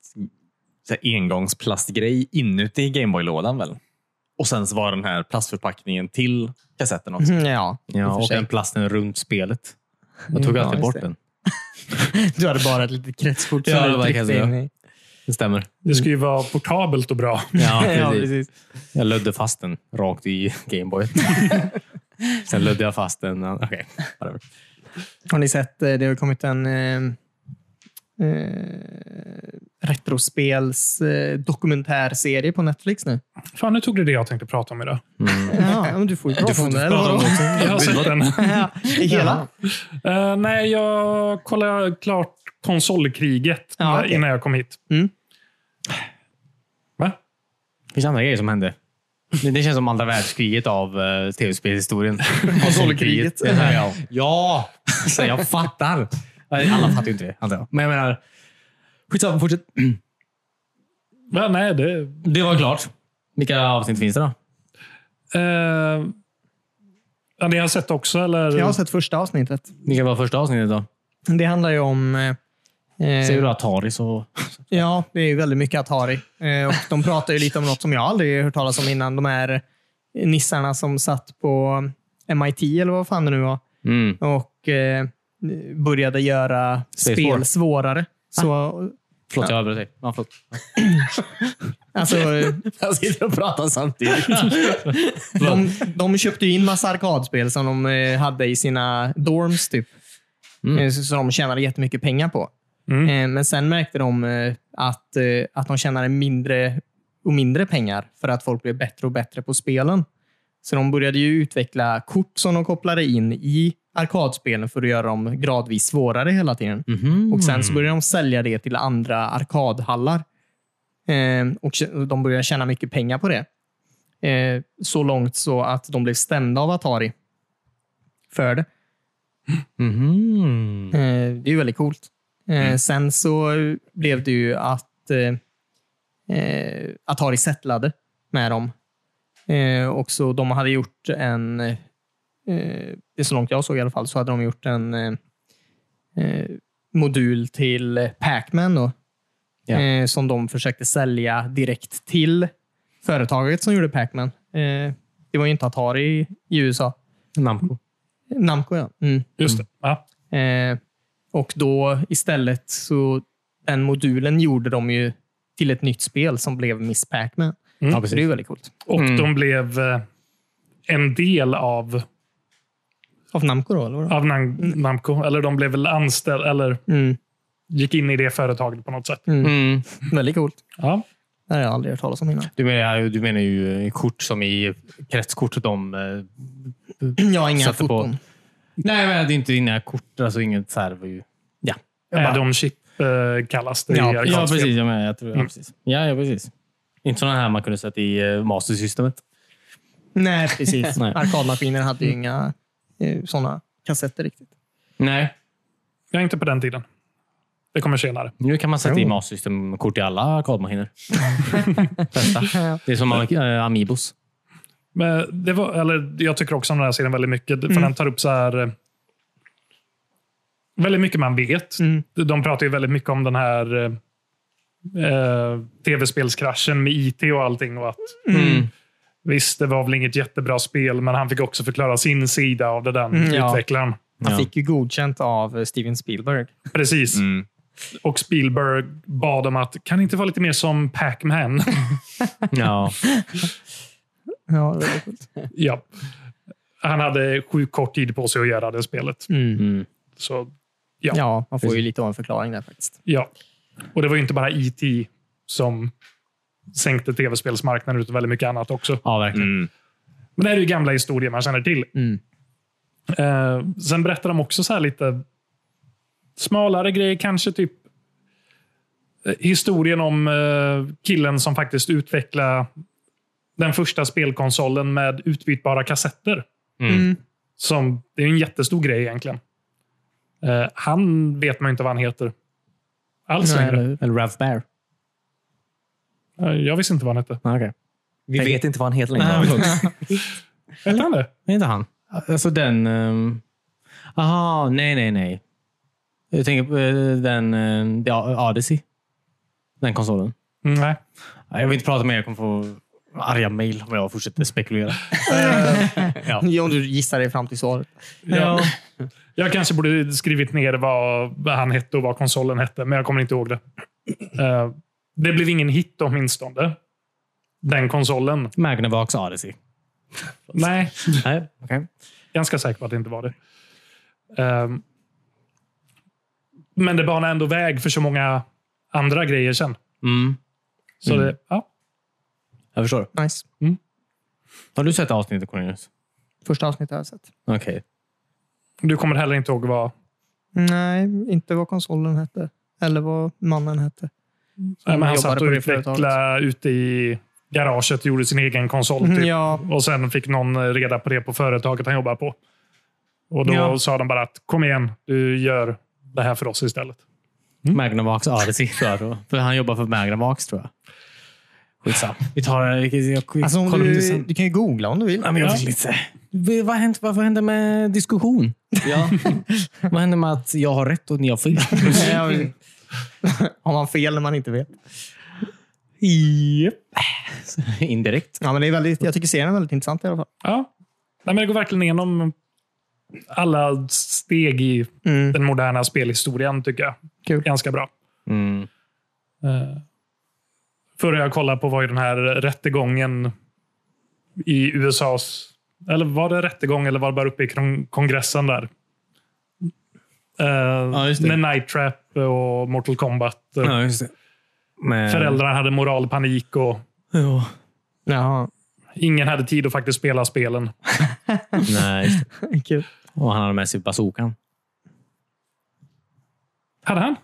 A: så här engångsplastgrej inuti Gameboy-lådan väl? Och sen så var den här plastförpackningen till kassetten också.
B: Mm, Ja, i och
C: Ja,
B: för
C: och
B: sig.
C: den plasten runt spelet. Jag tog
B: Ja,
A: Mm,
C: alltid
B: just
C: bort
B: det.
C: den.
B: Du hade bara ett litet kretskort
C: Ja,
B: som
C: det
B: du
C: var
B: tryckte
C: kanske
B: in
C: det.
B: i.
C: Det stämmer.
D: Det ska
B: Mm.
D: ju vara portabelt och bra.
C: Ja,
B: Ja,
C: precis.
B: precis.
C: Jag lödde fast den rakt i Gameboy. Sen lödde jag fast den. Okej, whatever.
B: Har ni sett, eh, det har kommit en eh, eh, retrospels eh, dokumentärserie på Netflix nu.
D: Fan, nu tog du det jag tänkte prata om idag.
B: Ja, men du får ju prata om det. Eller vadå?
D: Jag har sett den.
B: Ja, I hela?
D: Eh, nej, jag kollade klart konsolkriget
B: Ja,
D: när-
B: okej.
D: innan jag kom hit.
B: Mm.
D: Va?
C: Det finns andra grejer som hände. Det, det känns som andra världskriget av eh, tv-spelshistorien.
B: Konsolkriget.
C: Det är så här, ja. ja! Så jag fattar. Alla fattar ju inte det, antar jag. Men jag menar... Skitsamma, fortsätt.
D: Va? Nej, det...
C: Det var klart. Vilka avsnitt finns det då?
D: eh, ja, ni har sett också, eller?
B: Jag har sett första avsnittet.
C: Vilka var första avsnittet då?
B: Det handlar ju om... eh, eh,
C: Ser du då Atari så...
B: Ja, det är ju väldigt mycket Atari. Eh, och de pratar ju lite om något som jag aldrig hört talas om innan. De här nissarna som satt på MIT, eller vad fan det nu var,
C: Mm.
B: och eh, började göra
C: Space War.
B: spel svårare. Så,
C: Förlåt, jag avbröt dig. Ja, förlåt.
B: alltså, eh,
A: Jag sitter och pratar samtidigt.
B: de, de köpte ju in massa arkadspel som de eh, hade i sina dorms, typ.
C: Mm.
B: Eh, så- Som de tjänade jättemycket pengar på.
D: Mm.
B: Eh, Men sen märkte de eh, att, eh, att de tjänade mindre och mindre pengar för att folk blev bättre och bättre på spelen. Så de började ju utveckla kort som de kopplade in i arkadspelen för att göra dem gradvis svårare hela tiden.
A: Mm.
C: Mhm.
B: Och Sen så började de sälja det till andra arkadhallar. Eh, och tj- De började tjäna mycket pengar på det. Eh, så långt så att de blev stämda av Atari för det.
C: Mhm.
B: Eh, Det är ju väldigt coolt. Eh, Sen så blev det ju att eh, eh, Atari settlade med dem. Eh, och så de hade gjort en, eh, det är så långt jag såg i alla fall, så hade de gjort en eh, eh, modul till Pac-Man då,
C: Ja.
B: eh, som de försökte sälja direkt till företaget som gjorde Pac-Man. Eh, det var ju inte Atari i USA.
C: Namco.
B: Namco, ja. Mm.
D: Just det. Ja.
B: Eh, och då istället så den modulen gjorde de ju till ett nytt spel som blev Miss Pac-Man.
D: Ja,
B: Så det är ju väldigt coolt.
D: Och
C: Mm.
D: de blev eh, en del av,
B: Av Namco då, eller vadå?
D: av Nam- Namco. Eller de blev väl anställda, eller
B: Mm,
D: gick in i det företaget på något sätt.
C: Mm.
B: väldigt coolt.
D: Ja.
B: Det har jag aldrig hört talas om innan.
C: Du, menar, du menar ju eh, kort som i kretskortet de... eh,
B: Jag har inga
C: Satte på-
B: foton.
C: Nej, men det är inte dina kort. Alltså inget så här. var ju- Ja.
D: Add-on chip eh, kallas det
B: Ja, ja,
D: i
C: Ja,
D: arkadspel.
C: precis. Jag menar, jag tror, ja, precis. Ja, ja, precis. Inte sådana här man kunde sätta i eh, mastersystemet.
B: Nej, precis.
C: Nej.
B: Arkadmaskiner hade ju inga eh, såna kassetter riktigt.
C: Nej,
D: Jag är inte på den tiden. Det kommer senare.
C: nu kan man sätta i
B: Jo.
C: mastersystemkort i alla arkadmaskiner. Testa. Det är som eh, Amiibos.
D: Men det var, eller, jag tycker också om den här serien väldigt mycket.
C: Mm.
D: För den tar upp så här... eh, Väldigt mycket man vet.
B: Mm.
D: De pratar ju väldigt mycket om den här eh, eh, tv-spelskraschen med IT och allting. Och att,
C: Mm.
D: visst, det var väl inget jättebra spel, men han fick också förklara sin sida av det den
B: Mm, ja.
D: utvecklaren.
B: Han
C: Ja.
B: fick ju godkänt av eh, Steven Spielberg.
D: Precis.
A: Mm.
D: Och Spielberg bad om att, kan det inte vara lite mer som Pac-Man?
C: Ja.
B: Ja, det var väldigt coolt.
D: ja. Han hade sju kort tid på sig att göra det spelet.
B: Mm.
C: Mm.
D: Så
B: Ja, man får ju lite av en förklaring där faktiskt.
D: Ja. Och det var ju inte bara IT som sänkte tv-spelsmarknaden, utan väldigt mycket annat också.
C: ja, verkligen.
A: Mm.
D: Men det här är ju gamla historier man känner till.
B: Mm.
D: Eh, sen berättar de också så här lite smalare grejer, kanske typ eh, historien om eh, killen som faktiskt utvecklade den första spelkonsolen med utbytbara kassetter.
C: Mm.
D: Som, det är ju en jättestor grej egentligen. Eh, han vet man ju inte vad han heter. Alls
B: Nej,
D: längre.
C: Eller Rav Bear.
D: Eh, Jag visste inte vad han hette.
C: Okay.
A: Vi vet inte vad han heter längre.
C: Nej,
D: Hette han det?
C: Är inte han? Alltså den... Jaha, nej, nej, nej. Jag tänker på eh, den um, Odyssey. Den konsolen.
D: Mm, Nej.
C: Nej, Jag vill inte prata mer. Jag kommer få arga mejl om jag fortsätter spekulera.
B: Ja, Om du gissar dig fram till svaret.
D: Ja. Jag kanske borde skrivit ner vad vad han hette och vad konsolen hette, men jag kommer inte ihåg det. Eh, Det blev ingen hit åtminstone. Den konsolen.
C: Magnavox Odyssey.
D: Nej,
C: Nej, okej.
D: ganska säker på att det inte var det. Eh, Men det banar ändå väg för så många andra grejer sen.
C: Mm,
D: Så
C: Mm.
D: det, ja.
C: jag förstår.
B: Nice.
C: Har du sett avsnittet Cornelius?
B: Första avsnittet har jag sett.
C: Okej.
D: Du kommer heller inte ihåg vad...
B: Nej, inte vad konsolen hette. Eller vad mannen hette.
D: Nej, men han
B: jobbade
D: satt
B: på
D: och
B: det företaget.
D: utvecklade ute i garaget och gjorde sin egen konsol. Typ.
B: Mm, Ja,
D: Och sen fick någon reda på det på företaget han jobbar på. Och då
C: Ja.
D: sa de bara att kom igen, du gör det här för oss istället.
C: Magnavox Odyssey tror jag. Mm. då. För han jobbar för Magnavox tror jag. Skitsamma. Vi tar det. Jag, jag,
B: alltså om
C: kollar om det
B: du,
C: sen.
B: du kan ju googla om du vill.
C: Ja, men jag vill inte. V- Vad hände, varför hände med diskussion? vad hände med att jag har rätt och ni har fel?
B: Har man fel när man inte vet?
C: Japp. Indirekt.
B: Ja, men det är väldigt, jag tycker serien är väldigt intressant i alla fall.
D: Ja. Nej, men det går verkligen igenom alla steg i
B: Mm.
D: den moderna spelhistorien, tycker jag.
B: Kul.
D: Ganska bra.
C: Mm.
D: Eh, Förra jag kollade på var ju den här rättegången i USAs... Eller var det rättegång eller var det bara uppe i kron- kongressen där? Eh,
C: just det.
D: med Night Trap och Mortal Kombat.
C: Ja, just det. Men,
D: Föräldrarna hade moralpanik och
C: Ja.
B: Jaha,
D: ingen hade tid att faktiskt spela spelen.
C: Nej, just det.
B: kul.
C: Och han hade med sig bazookan.
D: Hade han?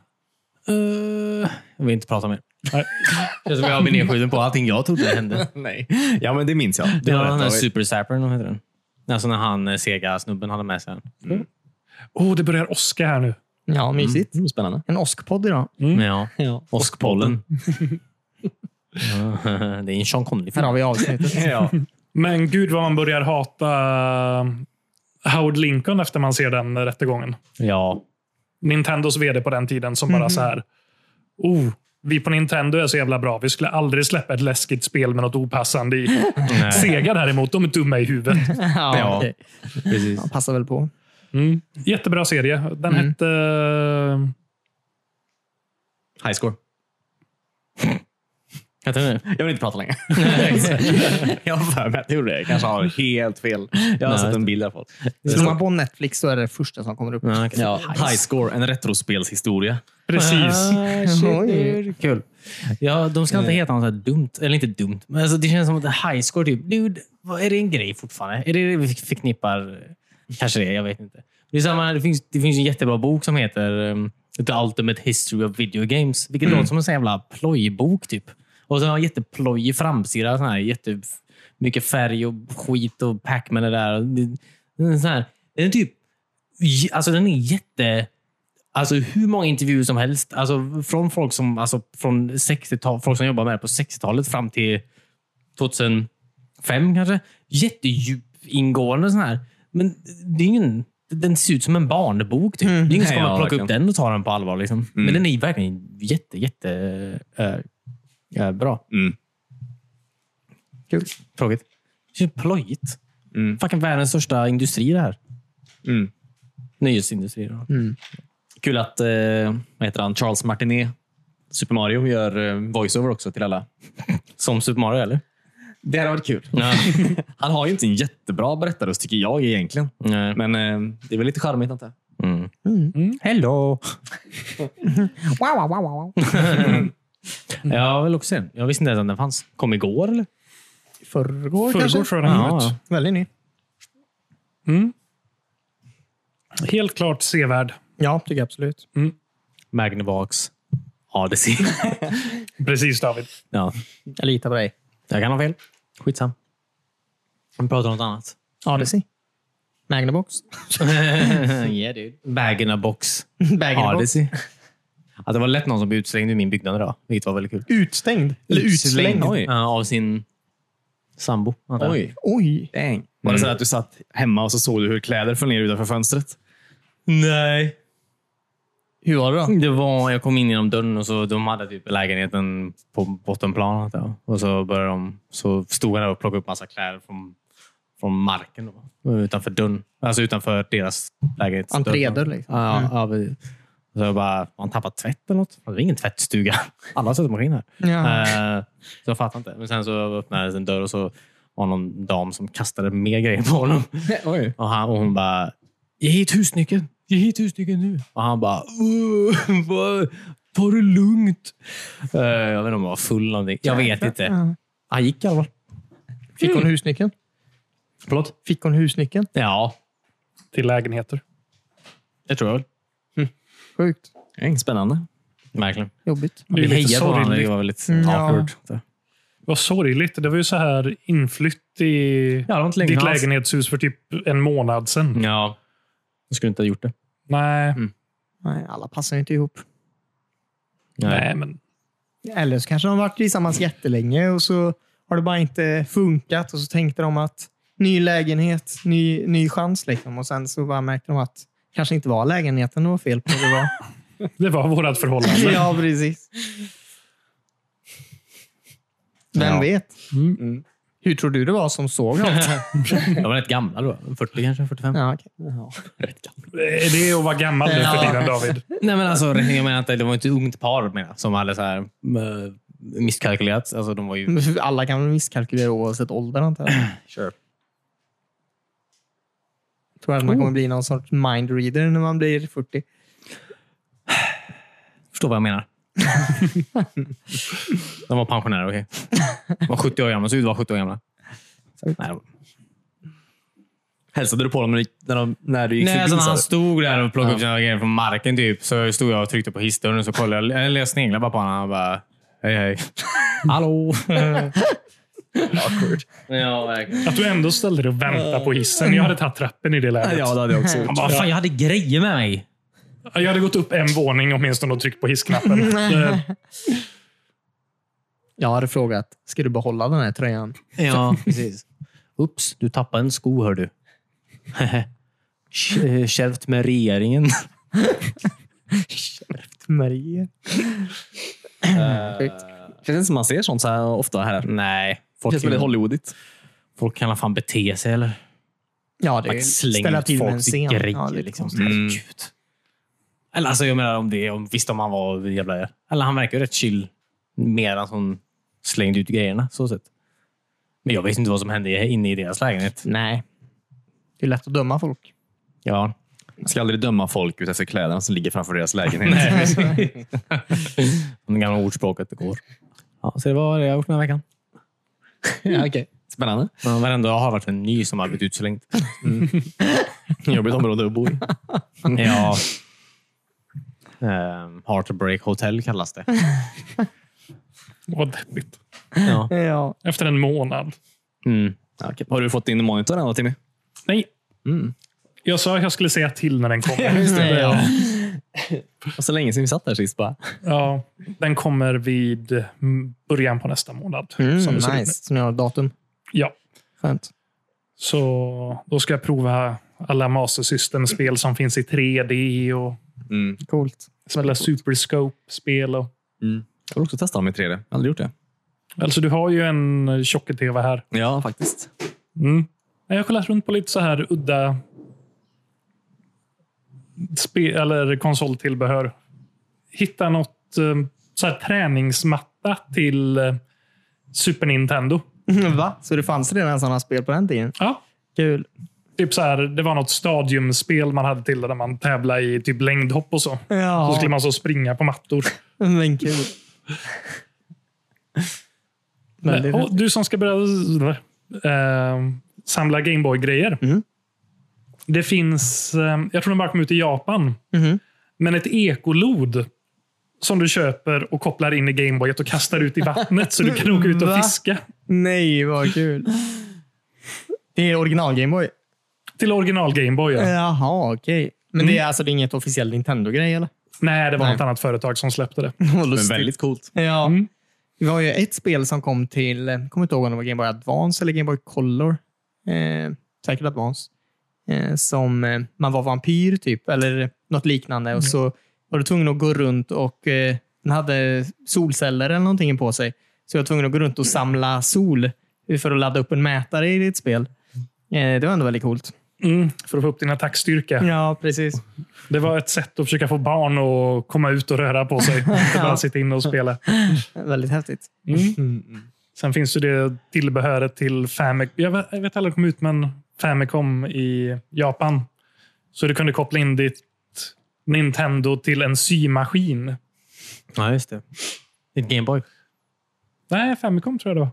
C: Eh, jag vill inte prata mer.
D: Nej.
C: Känns som jag har nedskjuten på allting jag trodde hände.
A: Nej. Ja, men det minns jag.
C: Det
A: har
C: var
A: jag
C: den där
A: rätt av.
C: Super Sappern, vad heter den? Alltså när han eh, Sega-snubben hade med sig den.
D: Oh, det börjar åska här nu.
B: Ja, mysigt.
A: Mm, Spännande.
B: En åskpodd idag.
C: Mm. Ja.
A: Ja.
C: Åskpollen. Ja, det är en Sean Connery-film.
B: Här har vi avsnittet.
A: Ja.
D: Men gud vad man börjar hata eh, Howard Lincoln efter man ser den rättegången.
C: Ja.
D: Nintendos vd på den tiden som bara
C: Mhm.
D: så här. Oh, vi på Nintendo är så jävla bra. Vi skulle aldrig släppa ett läskigt spel med något opassande i.
C: Nej.
D: Sega däremot, de är dumma i huvudet.
B: ja,
C: Ja.
B: okej.
C: Precis.
B: Ja, passar väl på.
C: Mm.
D: eh, Jättebra serie. Den hette...
A: High score.
C: Jag tror det.
A: Jag vill inte prata längre. jag har för mig att jag gjorde det. Jag kanske har helt fel. Jag har
C: Nej.
A: sett en bild i alla fall.
B: Slår man på Netflix så är det det första som kommer upp.
C: Ja, okej.
A: Ja, high score, en retrospelshistoria.
D: Precis.
C: Ah, shit,
B: Oj.
C: dude. Kul. Ja, de ska inte heta något så här dumt. Eller inte dumt, men alltså, det känns som att high score typ. Dude, vad, är det en grej fortfarande? Är det det vi förknippar? eh, Kanske det, jag vet inte. Det, är samma, det, finns, det finns en jättebra bok som heter um, The Ultimate History of Video Games. Vilket låter som en sån jävla plojbok typ. Och så har en jätteplojig framsida. Sån här, jätte, mycket färg och skit och Pac-Man är där. Och det- det är sån här, den är typ... j- Alltså den är jätte... Alltså hur många intervjuer som helst. Alltså från folk som, alltså, från 60-tal, folk som jobbar med det på 60-talet fram till 2005 kanske. Jättedjup ingående sån här. Men det är ingen, den ser ut som en barnbok. Typ. Det är ingen
A: Mm. Nej,
C: som kommer
A: ja,
C: plocka upp
A: verkligen. Mm.
C: den och ta den på allvar. Liksom. Men den är verkligen jätte, jätte eh, eh, bra.
A: Mm.
B: Kul.
C: Tråkigt. Det känns plojigt.
A: Mm.
C: Fucking världens största industri det här.
A: Mm.
C: Nöjesindustri. Då.
A: Kul att eh, vad heter han? Charles Martinet, Super Mario, gör eh, voiceover också till alla.
C: Som Super Mario, eller?
A: Det hade varit kul.
C: Ja.
A: Han har ju inte en jättebra berättarröst tycker jag egentligen.
C: Nej.
A: Men eh, det är väl lite charmigt antar jag.
C: Mm. Hello!
B: Wow, wow, wow, wow.
C: Jag vill också se den. Jag visste inte ens att den fanns. Kom igår, eller?
B: Förrgår
D: Förrgår
B: kanske?
D: tror jag den kom
C: Ja,
D: ut.
B: Väldigt ny.
D: Helt klart sevärd.
B: Ja, tycker jag absolut.
C: Magnavox Odyssey.
D: Precis David.
C: ja.
B: Jag litar på dig.
C: Jag kan ha fel. Skitsam. Vi pratar om något annat.
B: Odyssey. Magnabox.
C: Mm, yeah, dude. Bag in a box.
B: Bag in a box.
C: Odyssey. Ja, det var lätt någon som blev utslängd ur min byggnad idag, vilket var väldigt kul.
B: Utstängd. Eller utslängd.
A: Oj.
C: Ja, av sin sambo. antar jag.
B: Oj.
A: Dang. Var det så att du satt hemma och så såg du hur kläder föll ner utanför fönstret?
C: Nej.
B: Hur var det då?
C: Det var, jag kom in genom dörren och så de hade typ lägenheten på bottenplan. antar jag. Och så började de, så stod jag där och plockade upp massa kläder från, från marken. Då, utanför dörren. Alltså utanför deras lägenhet.
B: Entrédörr liksom.
C: Ja, ja, precis. Och Så jag bara, har han tappat tvätt eller något? Det är ingen tvättstuga. Alla har tvättmaskin här.
B: Ja.
C: Eh, så jag fattar inte. Men sen så öppnades en dörr och så var någon dam som kastade mer grejer på honom.
A: Oj.
C: Och, han, och hon bara, ge hit husnyckeln. Ge hit husnyckeln nu. Och han bara, "Åh, vad- ta det lugnt. Eh, jag vet inte om han var full eller någonting. Jag vet inte.
B: Ja.
C: Han gick i alla fall.
B: Fick hon husnyckeln?
C: Förlåt?
B: Fick hon husnyckeln?
C: Ja,
D: Till lägenheter.
C: det tror jag väl.
B: Sjukt.
A: Dang, spännande.
C: Verkligen.
B: Jobbigt.
D: Det är
C: Vi
D: ju lite
C: hejade på varandra. Det
D: sorgligt.
C: var väldigt
B: Ja.
C: awkward.
D: Vad sorgligt. Det var ju så här inflytt i
C: Ja, Mm. det var inte länge
D: ditt
C: sedan alls.
D: lägenhetshus för typ en månad sedan.
C: Ja, jag skulle inte ha gjort det.
D: Nej,
B: Nej, alla passar ju inte ihop.
D: nej, men
B: Eller så kanske de har varit tillsammans jättelänge och så har det bara inte funkat och så tänkte de att ny lägenhet, ny, ny chans liksom. Och sen så bara märkte de att kanske inte var lägenheten det var fel på. Det var...
D: det var vårt förhållande.
B: ja, precis. Vem
C: Ja.
B: vet? Mm.
C: Mm.
B: Hur tror du det var som såg allt?
C: Jag var rätt gamla då. 40 kanske, 45.
B: ja, okej.
D: Är Det är att vara gammal nu för
B: Ja.
D: tiden, David.
C: Nej, men alltså, jag menar inte, det var inte ett ungt par menar, jag, som hade så här, eh, misskalkylerat. Alltså, de var ju...
B: Men Alla kan väl misskalkylera oavsett ålder antar jag.
C: Sure.
B: Tror att man kommer bli någon sorts mindreader när man blir 40.
C: Förstår vad jag menar. de var pensionärer, okej. De var 70 år gamla. Såg ut att vara 70 år gamla. Nej, de...
A: Hälsade du på dem när du, när de, när du gick
C: Nej, alltså,
A: förbi?
C: när
A: sa
C: han
A: du?
C: stod där och plockade upp sina grejer från marken typ, så stod jag och tryckte på hissdörren och så kollade jag. Eller jag sneglade bara på honom och bara hej hej. Hallå! ja, verkligen.
D: Att du ändå ställde dig och väntade på hissen. Jag hade tagit trappen i det läget.
A: Ja, det hade jag också gjort.
C: Han bara, fan jag hade grejer med mig.
D: Jag hade gått upp en våning åtminstone och tryckt på hissknappen. Eh,
B: Jag hade frågat, ska du behålla den här tröjan?
C: Ja, precis. Ups, du tappade en sko hör du. K- Kärvt med regeringen.
B: Marie. Sjukt.
A: Känns inte som man ser sånt så här ofta här.
C: Nej.
A: Det
C: Folk,
A: känns väldigt Hollywoodigt.
C: folk kan i alla fan bete sig eller?
B: Ja, det är
C: Att slänga
B: ställa
C: ut
B: till med en
C: folks
B: scen.
C: grejer.
B: Ja, Mm. det är
C: liksom.
B: konstigt.
C: Herregud. Eller alltså jag menar om det, om, visst om han var jävla... Eller han verkar ju rätt chill medan hon slängde ut grejerna. Så sett. Men jag vet inte vad som hände inne i deras lägenhet.
B: Nej. Det är lätt att döma folk.
C: Ja.
A: Jag ska aldrig döma folk ut efter kläderna som ligger framför deras lägenhet.
C: Om det gamla ordspråket det går. Ja, så det var det jag har gjort den här veckan.
B: ja, okay.
A: Spännande.
C: Men varenda dag har varit en ny som har blivit utslängd.
B: Mm.
A: Jobbigt område att bo i.
C: Ja. Um, Heartbreak Hotel kallas det.
D: Vad deppigt.
C: Ja.
B: ja.
D: Efter en månad.
C: Mm.
A: Ja, okej. Har du fått din monitor än då, Timmy?
D: Nej.
A: Mm.
D: Jag sa att jag skulle säga till när den kommer.
B: Nej, ja.
A: Och så länge sedan vi satt där sist. Bara.
D: ja, den kommer vid mm, början på nästa månad.
B: Mm.
D: som det ser ut nu.
B: nice. Som jag har datum.
D: Ja,
B: Skönt.
D: så då ska jag prova alla Master System-spel som finns i 3D och
A: Mm.
B: Coolt.
D: alla Super Scope-spel. Och...
A: Mm. Jag vill också testa dem i 3D. Jag har aldrig gjort det.
D: Alltså, du har ju en eh, tjock-tv här.
A: Ja, faktiskt.
D: Mm. Jag har kollat runt på lite så här udda spe- eller konsoltillbehör. Hitta något eh, så här träningsmatta till eh, Super Nintendo.
B: Va? Så det fanns redan sådana spel på den tiden?
D: Ja,
B: Kul.
D: typ så här, det var något stadiumspel man hade till där man tävlade i typ längdhopp och så.
B: Ja.
D: Så skulle man så springa på mattor.
B: Men kul. Men det är
D: och du som ska börja eh, samla Gameboy-grejer.
B: Mm.
D: Det finns, eh, jag tror den bara kom ut i Japan,
B: Mhm.
D: men ett ekolod som du köper och kopplar in i Gameboyet och kastar ut i vattnet så du kan åka ut och
B: Va?
D: fiska.
B: Nej, vad kul. Det är original Gameboy?
D: Till original Gameboy. Ja.
B: Jaha, okej. Men det är alltså det är inget officiell Nintendo-grej, eller?
D: Nej, det var
B: Nej.
D: något annat företag som släppte det.
B: Vad
A: Men
B: lustigt.
A: väldigt coolt.
B: Ja.
D: Mm.
B: Det var ju ett spel som kom till, jag kommer inte ihåg om det var Game Boy Advance eller Game Boy Color. Eh, säkert Advance. Eh, som eh, man var vampyr typ, eller något liknande.
C: Mm.
B: Och så var du tvungen att gå runt och eh, den hade solceller eller någonting på sig. Så jag var tvungen att gå runt och samla sol för att ladda upp en mätare i ditt spel. Eh, det var ändå väldigt coolt.
D: Mm, för att få upp din attackstyrka.
B: Ja, precis.
D: Det var ett sätt att försöka få barn att komma ut och röra på sig. Inte bara sitta inne och spela.
B: Väldigt häftigt.
D: Mm. Sen finns ju det tillbehöret till Famicom. Jag vet, jag vet aldrig kom ut, men Famicom i Japan. Så du kunde koppla in ditt Nintendo till en symaskin.
C: ja, just det. Ditt Gameboy.
D: Nej, Famicom tror jag det var.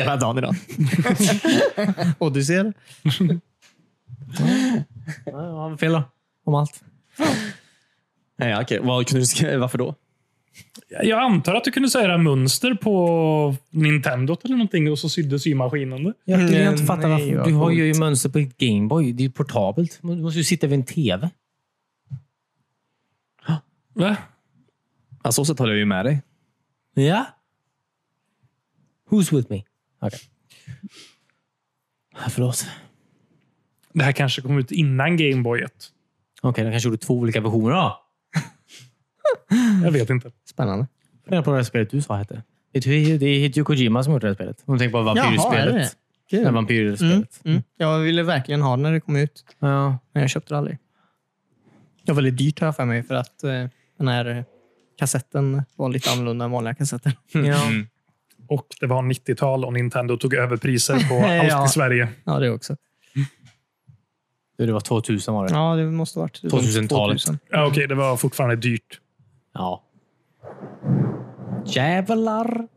B: Hela dagen idag. och du ser
C: Ja, vad var fel då? Om allt.
A: Ja, okej. Vad kunde du skriva? Varför då?
D: Jag antar att du kunde säga mönster på Nintendo eller någonting och så sydde symaskinen det.
C: Jag
B: Mm,
C: kan inte fatta
B: nej,
C: varför.
B: vad
C: Du har ju
B: coolt.
C: mönster på ditt Gameboy. Det är ju portabelt. Du måste ju sitta vid en TV.
D: Va?
A: Ja, så sett håller jag ju med dig.
C: Ja. Who's with me? Okej. Förlåt.
D: Det här kanske kom ut innan Gameboyet.
C: Okej, de kanske gjorde två olika versioner då.
D: Jag vet inte.
B: Spännande.
C: Fundera på vad det här spelet du sa hette. Det är ju- det är Hideo Kojima som gjort det här spelet. Om du tänker på
B: Jaha, är det det?
C: vampyrspelet.
B: Kul.
C: Det här vampyrspelet.
B: Mm. Jag ville verkligen ha den när det kom ut,
C: Ja.
B: men jag köpte det aldrig. Det var väldigt dyrt har jag för mig, för att eh, den här eh, kassetten var lite annorlunda än vanliga kassetter.
C: Ja.
D: Och det var 90-tal och Nintendo tog över priser på
B: Ja.
D: allt i Sverige.
B: Ja, det också.
C: Det var 2000 var det.
B: Ja, det måste ha varit runt
C: 2000-talet.
B: 2000.
D: Ja, Okej, det var fortfarande dyrt.
C: Ja. Jävlar!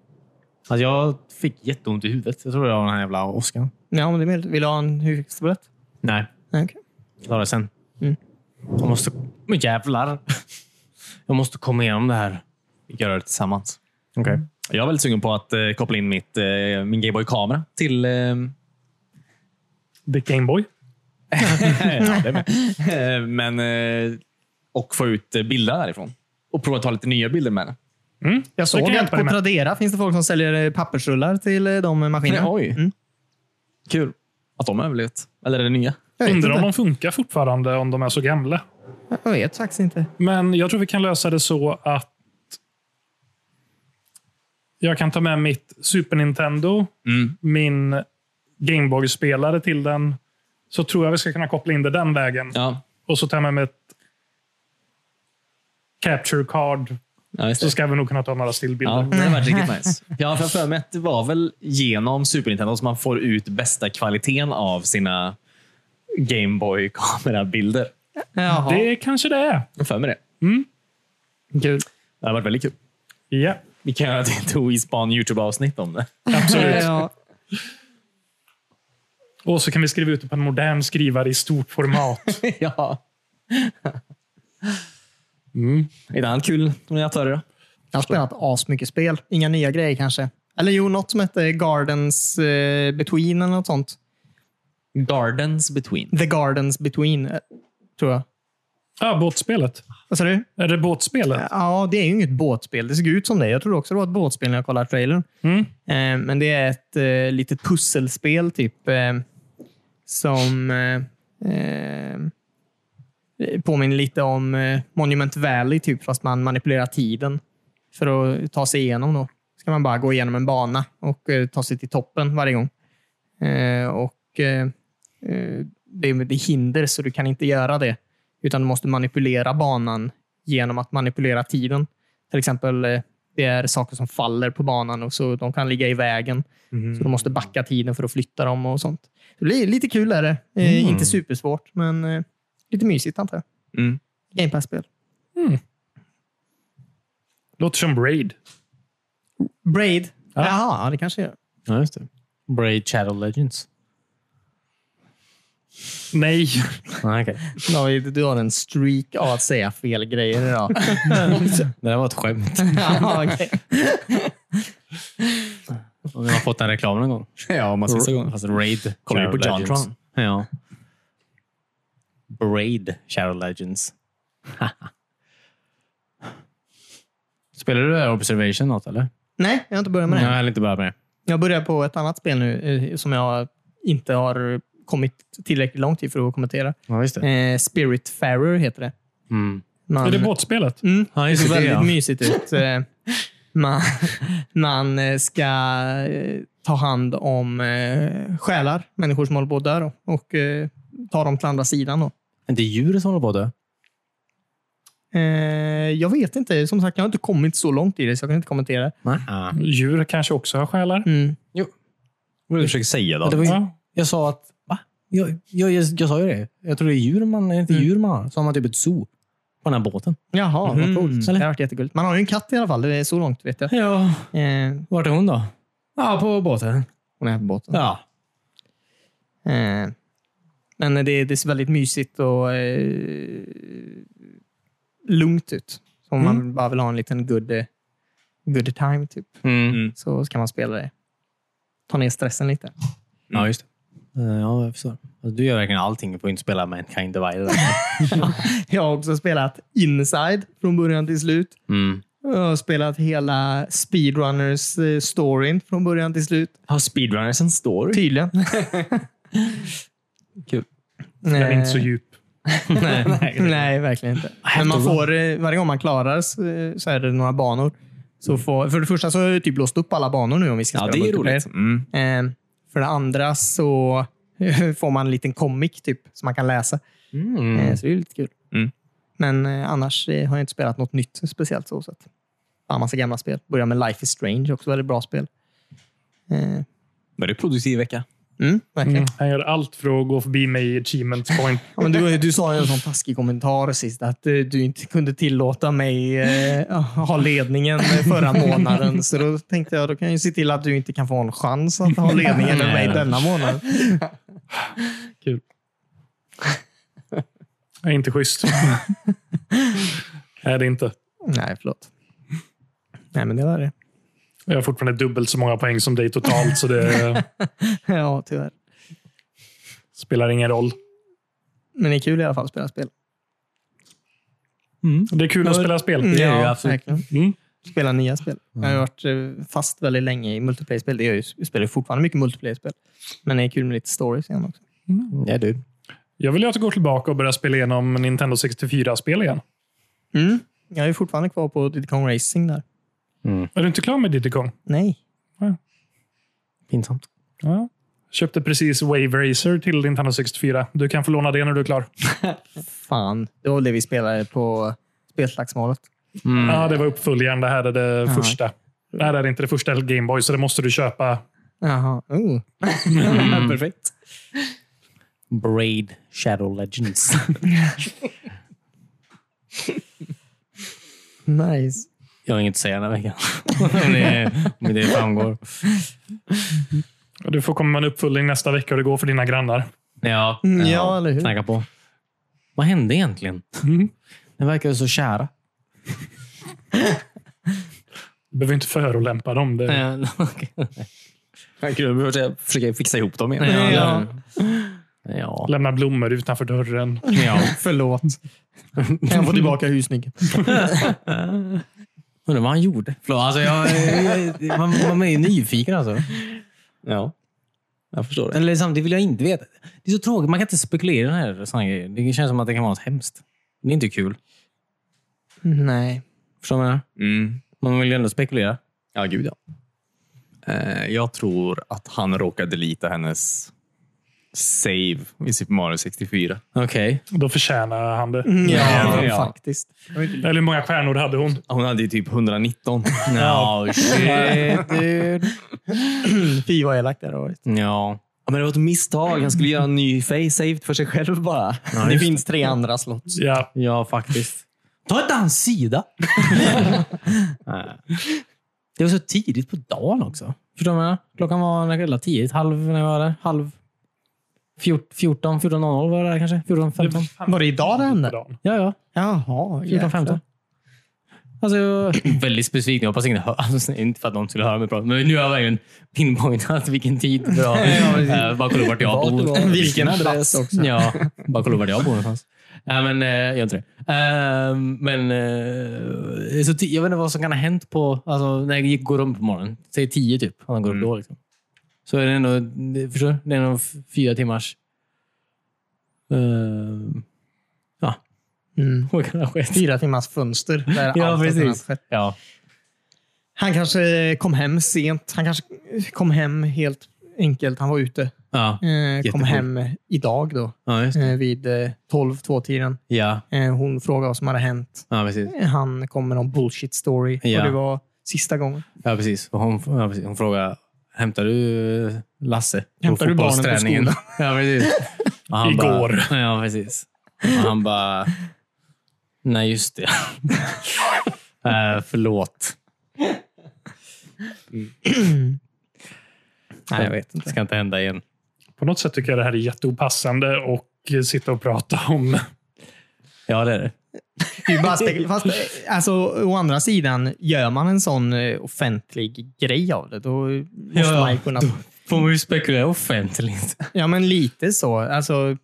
C: Alltså jag fick jätteont i huvudet. Jag tror det var den här jävla åskan.
B: Ja, men det är möjligt. Vill du ha en huvudstablett?
C: Nej,
B: Nej, okej.
C: jag tar det sen.
B: Mm.
C: Jag måste... Men jävlar! Jag måste komma igenom det här.
A: Vi kan göra det tillsammans.
C: Okej.
A: Jag är väldigt sugen på att eh, koppla in mitt, eh, min Gameboy-kamera till... Eh,
D: The Gameboy.
A: ja, det är med. Eh, men, eh, och få ut eh, bilder därifrån. Och prova att ta lite nya bilder med den.
D: Mm.
B: Jag såg
D: kan
B: att
D: hjälpa dig
B: på
D: med.
B: Tradera finns det folk som säljer eh, pappersrullar till eh, de eh, maskinerna.
A: Oj. Kul att de har överlevt. Eller är det nya?
B: Jag, vet
D: Undrar om
B: inte.
D: de funkar fortfarande, om de är så gamla.
B: jag vet faktiskt inte.
D: Men jag tror vi kan lösa det så att jag kan ta med mitt Super Nintendo,
A: Mm.
D: min Gameboy-spelare till den. Så tror jag vi ska kunna koppla in det den vägen.
A: Ja.
D: Och så tar jag med mig ett capture card
A: Ja, just
D: så
A: det.
D: ska vi nog kunna ta några stillbilder.
A: Ja, det har varit riktigt nice. Jag har för mig att det var väl genom Super Nintendo som man får ut bästa kvaliteten av sina Gameboy-kamerabilder.
B: Jaha.
D: Det kanske det är.
A: Jag har för mig det.
D: Kul.
A: Det har varit väldigt kul.
D: Ja,
A: Vi kan göra ett Oispan YouTube-avsnitt om det.
D: absolut.
B: Ja.
D: Och så kan vi skriva ut det på en modern skrivare i stort format.
A: ja. Mm. Är det annat kul om ni har tagit det då?
B: Jag har spelat asmycket spel. Inga nya grejer kanske. Eller jo, något som hette Gardens eh, Between eller något sånt.
A: Gardens Between.
B: The Gardens Between, eh, tror jag.
D: Ja, båtspelet.
B: Vad sa du?
D: Är det båtspelet?
B: Ja, det är ju inget båtspel. Det såg ut som det. Jag trodde också det var ett båtspel när jag kollade trailern.
D: Mm.
B: Eh, Men det är ett eh, litet pusselspel typ. Eh, som eh, eh, påminner lite om eh, Monument Valley, typ, fast man manipulerar tiden för att ta sig igenom. Då ska man bara gå igenom en bana och eh, ta sig till toppen varje gång. Eh, och eh, eh, det, är- det är hinder, så du kan inte göra det. Utan du måste manipulera banan genom att manipulera tiden. Till exempel, eh, det är saker som faller på banan och så de kan ligga i vägen. Så du måste backa tiden för att flytta dem och sånt. Det blir lite kul är det. Eh,
A: Mm.
B: Inte supersvårt, men eh, lite mysigt antar jag.
A: Mm.
B: Game Pass-spel.
D: Låter som Braid.
B: Braid. Ja. Jaha, det kanske är.
A: Ja, just det.
C: Braid Shadow Legends.
D: Nej,
C: Ah, okay.
B: David, du har en streak av att säga fel grejer idag.
C: Det där var ett skämt.
B: ja, okej.
C: Om jag har fått den reklamen någon gång.
A: Ja, man ses igång.
C: Fast Raid.
A: Kollar ju på
C: Shadow Legends.
A: Jontron.
C: Ja. Braid Shadow Legends. Spelar du det här Observation något eller?
B: Nej, jag har inte börjat med
C: Nej,
B: det.
C: jag har inte börjat med det.
B: Jag börjar på ett annat spel nu eh, som jag inte har kommit tillräckligt långt i för att kommentera.
C: Ja, just det.
B: Eh, Spiritfarer heter det.
C: Mm.
B: Man-
D: är det båtspelet?
B: Mm,
C: Ja,
B: det
C: just
B: ser
C: det,
B: väldigt
C: ja.
B: mysigt ut. Eh, Man, man eh, ska eh, ta hand om eh, själar, människor som håller på att dö, då, och eh, ta dem till andra sidan. Då.
C: Inte djur som håller på att dö?
B: Eh, Jag vet inte. Som sagt, jag har inte kommit så långt i det, så jag kan inte kommentera.
C: Nej.
D: Djur kanske också har själar. Mm.
B: Mm.
A: Vad är det du försöker säga
C: Det var
A: då?
C: ju-
D: Ja.
C: Jag sa att, va? Jag, jag, jag, jag sa ju det. Jag tror det är djur man, är det inte
B: Mm.
C: djur man har. Så har man typ ett zoo på den här båten.
B: Jaha,
A: Mhm.
B: vad coolt.
C: Eller?
B: Det har varit jättegulligt. Man har ju en katt i alla fall. Det är så långt vet jag.
C: Ja.
B: Eh,
C: Vart är hon då? Ja, på båten.
B: Hon är här på båten.
C: Ja.
B: Eh, Men det, det ser väldigt mysigt och eh, lugnt ut. Så om man bara vill ha en liten good, eh, good time typ,
A: Mm.
B: så ska man spela det. Ta ner stressen lite.
C: Ja, just det. Eh, Ja, jag förstår. Alltså, du gör verkligen allting. Du får inte spela Mankind Divided.
B: Jag har också spelat Inside från början till slut.
C: mm.
B: Jag har spelat hela Speedrunners-storyn från början till slut.
A: Har speedrunners en story?
B: Tydligen.
A: Kul.
B: Eh,
D: Den är inte så djup.
B: Nej, nej, verkligen inte. Men man får, eh, varje gång man klarar så, eh, så är det några banor. Så får, för det första så har jag typ låst upp alla banor nu om vi ska
A: Ja,
B: spela
A: det är
B: multiplayer.
A: roligt. Mm.
B: Eh, för det andra så får man en liten comic typ, som man kan läsa. Eh,
C: Mm.
B: Så det är lite kul.
A: Mm.
B: Men eh, annars eh, har jag inte spelat något nytt speciellt. så sett. Bara massa gamla spel. Börjar med Life is Strange, också väldigt bra spel. Eh,
A: Väldigt produktiv vecka.
B: Mm, verkligen.
D: Mm. Han gör allt för att gå förbi mig i achievement point.
B: Ja, men du, du sa ju en sån taskig kommentar sist att eh, du inte kunde tillåta mig eh, ha ledningen förra månaden. Så då tänkte jag, då kan jag ju se till att du inte kan få en chans att ha ledningen över mig denna månad.
D: Det är inte schysst. är det inte.
B: Nej, förlåt. Nej, men det var det.
D: Jag har fortfarande dubbelt så många poäng som dig totalt, så det
B: Ja, tyvärr.
D: spelar ingen roll.
B: Men det är kul i alla fall att spela spel.
D: Det är kul att spela spel.
C: det är det ju absolut.
B: verkligen.
D: Mm.
B: Spela nya spel. Jag har varit eh, fast väldigt länge i multiplayer-spel. Det gör jag ju- Jag spelar ju fortfarande mycket multiplayer-spel. Men det är kul med lite stories igen också.
C: Mm. Ja, du.
D: Jag vill ju att du går tillbaka och börjar spela igenom Nintendo 64-spel igen.
B: Mm. Jag är fortfarande kvar på Diddy Kong Racing där.
D: Är du inte klar med Diddy Kong?
B: Nej.
C: Pinsamt.
D: Ja. Köpte precis Wave Racer till Nintendo 64. Du kan få låna det när du är klar.
B: Fan, det var det vi spelade på spelslagsmålet.
D: Ja, det var uppföljaren. Det här är det första. Det här är inte det första Gameboy, så det måste du köpa.
B: Jaha. Oh. Perfekt.
C: Braid Shadow Legends.
B: Nice.
C: Jag har inget att säga den här veckan. om, det, om det framgår.
D: Du får komma med en uppföljning nästa vecka och det går för dina grannar.
C: Ja,
B: Mm, ja, eller hur?
C: Knacka på. Vad hände egentligen? Ni Mm. verkar ju så kära.
D: Du behöver inte förolämpa dem. Det,
C: Eh, okej.
A: Jag behöver försöka fixa ihop dem igen.
C: Ja.
B: Ja.
C: Ja.
D: Lämna blommor utanför dörren.
C: ja.
B: Förlåt. Kan jag få tillbaka husnyckeln?
C: Undrar vad han gjorde. Förlåt, Alltså, jag, jag, man, man är ju nyfiken alltså.
A: Ja. Jag förstår det.
C: Eller samtidigt vill jag inte veta. Det är så tråkigt. Man kan inte spekulera i den här, såna här grejer. Det känns som att det kan vara något hemskt. Det är inte kul.
B: Nej.
C: Förstår du vad jag menar?
A: Mm.
C: Man vill ju ändå spekulera.
A: Ja, gud ja. Eh, jag tror att han råkade delita hennes save i Super Mario 64.
C: Okej.
D: Då förtjänar han det.
B: Ja,
A: Ja.
B: faktiskt.
D: Eller hur många stjärnor hade hon?
A: Hon hade ju typ 119.
C: Ja, shit, dude.
B: Fy vad elakt det har varit.
C: Ja.
A: Ja, Men det var ett misstag. Han skulle göra en ny face saved för sig själv bara.
B: det finns tre andra slott.
D: Ja,
C: Ja, faktiskt. Ta inte hans sida! Nej. det var så tidigt på dagen också. Förstår du vad jag menar? Klockan var relativt tidigt. Halv, när var det? Halv... fjort- 14, 14.00 var det där kanske? 14, 15?
B: Var det idag det hände?
D: Dan.
C: Ja, ja.
B: Jaha.
C: 14,
B: jäklar.
C: 15. Alltså, jag är väldigt specifikt. Jag hoppas ingen hör, alltså, inte för att någon skulle höra mig prata, men nu har jag verkligen pinpointat vilken tid. Bra. Eh, bara kolla vart jag
A: Vart du
C: bor.
A: var.
B: Vilken adress också.
C: Ja, bara kolla vart jag bor någonstans. Nej, men eh, jag gör inte det. Eh, men eh, så ti- jag vet inte vad som kan ha hänt på, alltså, när jag gick, går upp på morgonen. Säg tio typ, om man går upp då. Liksom. Så är det ändå, det- förstår du? Det är nog f- fyra timmars... eh, ja,
B: Mm.
C: vad kan det ha skett?
B: Fyra timmars fönster. Där allt
C: Ja,
B: har kunnat
C: precis.
B: ske.
C: Ja.
B: Han kanske kom hem sent. Han kanske kom hem helt enkelt. Han var ute.
C: Ja.
B: Eh, kom
C: Jättecool.
B: hem idag då.
C: Ja, just.
B: Eh, vid eh, 12-2-tiden.
C: ja,
B: Eh, hon frågade vad som hade hänt.
C: ja, precis.
B: Eh, Han kom med någon bullshit story.
C: Ja.
B: Och det var sista gången.
C: Ja, precis. Och Hon, ja, precis. Hon frågade, hämtar du eh, Lasse? på
B: Hämtar du barnen på
C: fotbollsträningen?" Ja, precis. Och han
D: Igår.
C: Bara, ja, precis. Och han bara, nej just det. Eh, förlåt.
B: Nej, jag vet
C: Det
B: inte.
C: ska inte hända igen.
D: På något sätt tycker jag det här är jätteopassande och eh, sitta och prata om.
C: Ja, det är det.
B: Det är ju bara spek- Fast, eh, alltså, å andra sidan, gör man en sån eh, offentlig grej av det, då måste
C: Ja,
B: man ju kunna...
C: Får man ju spekulera offentligt.
B: Ja, men lite så. Alltså,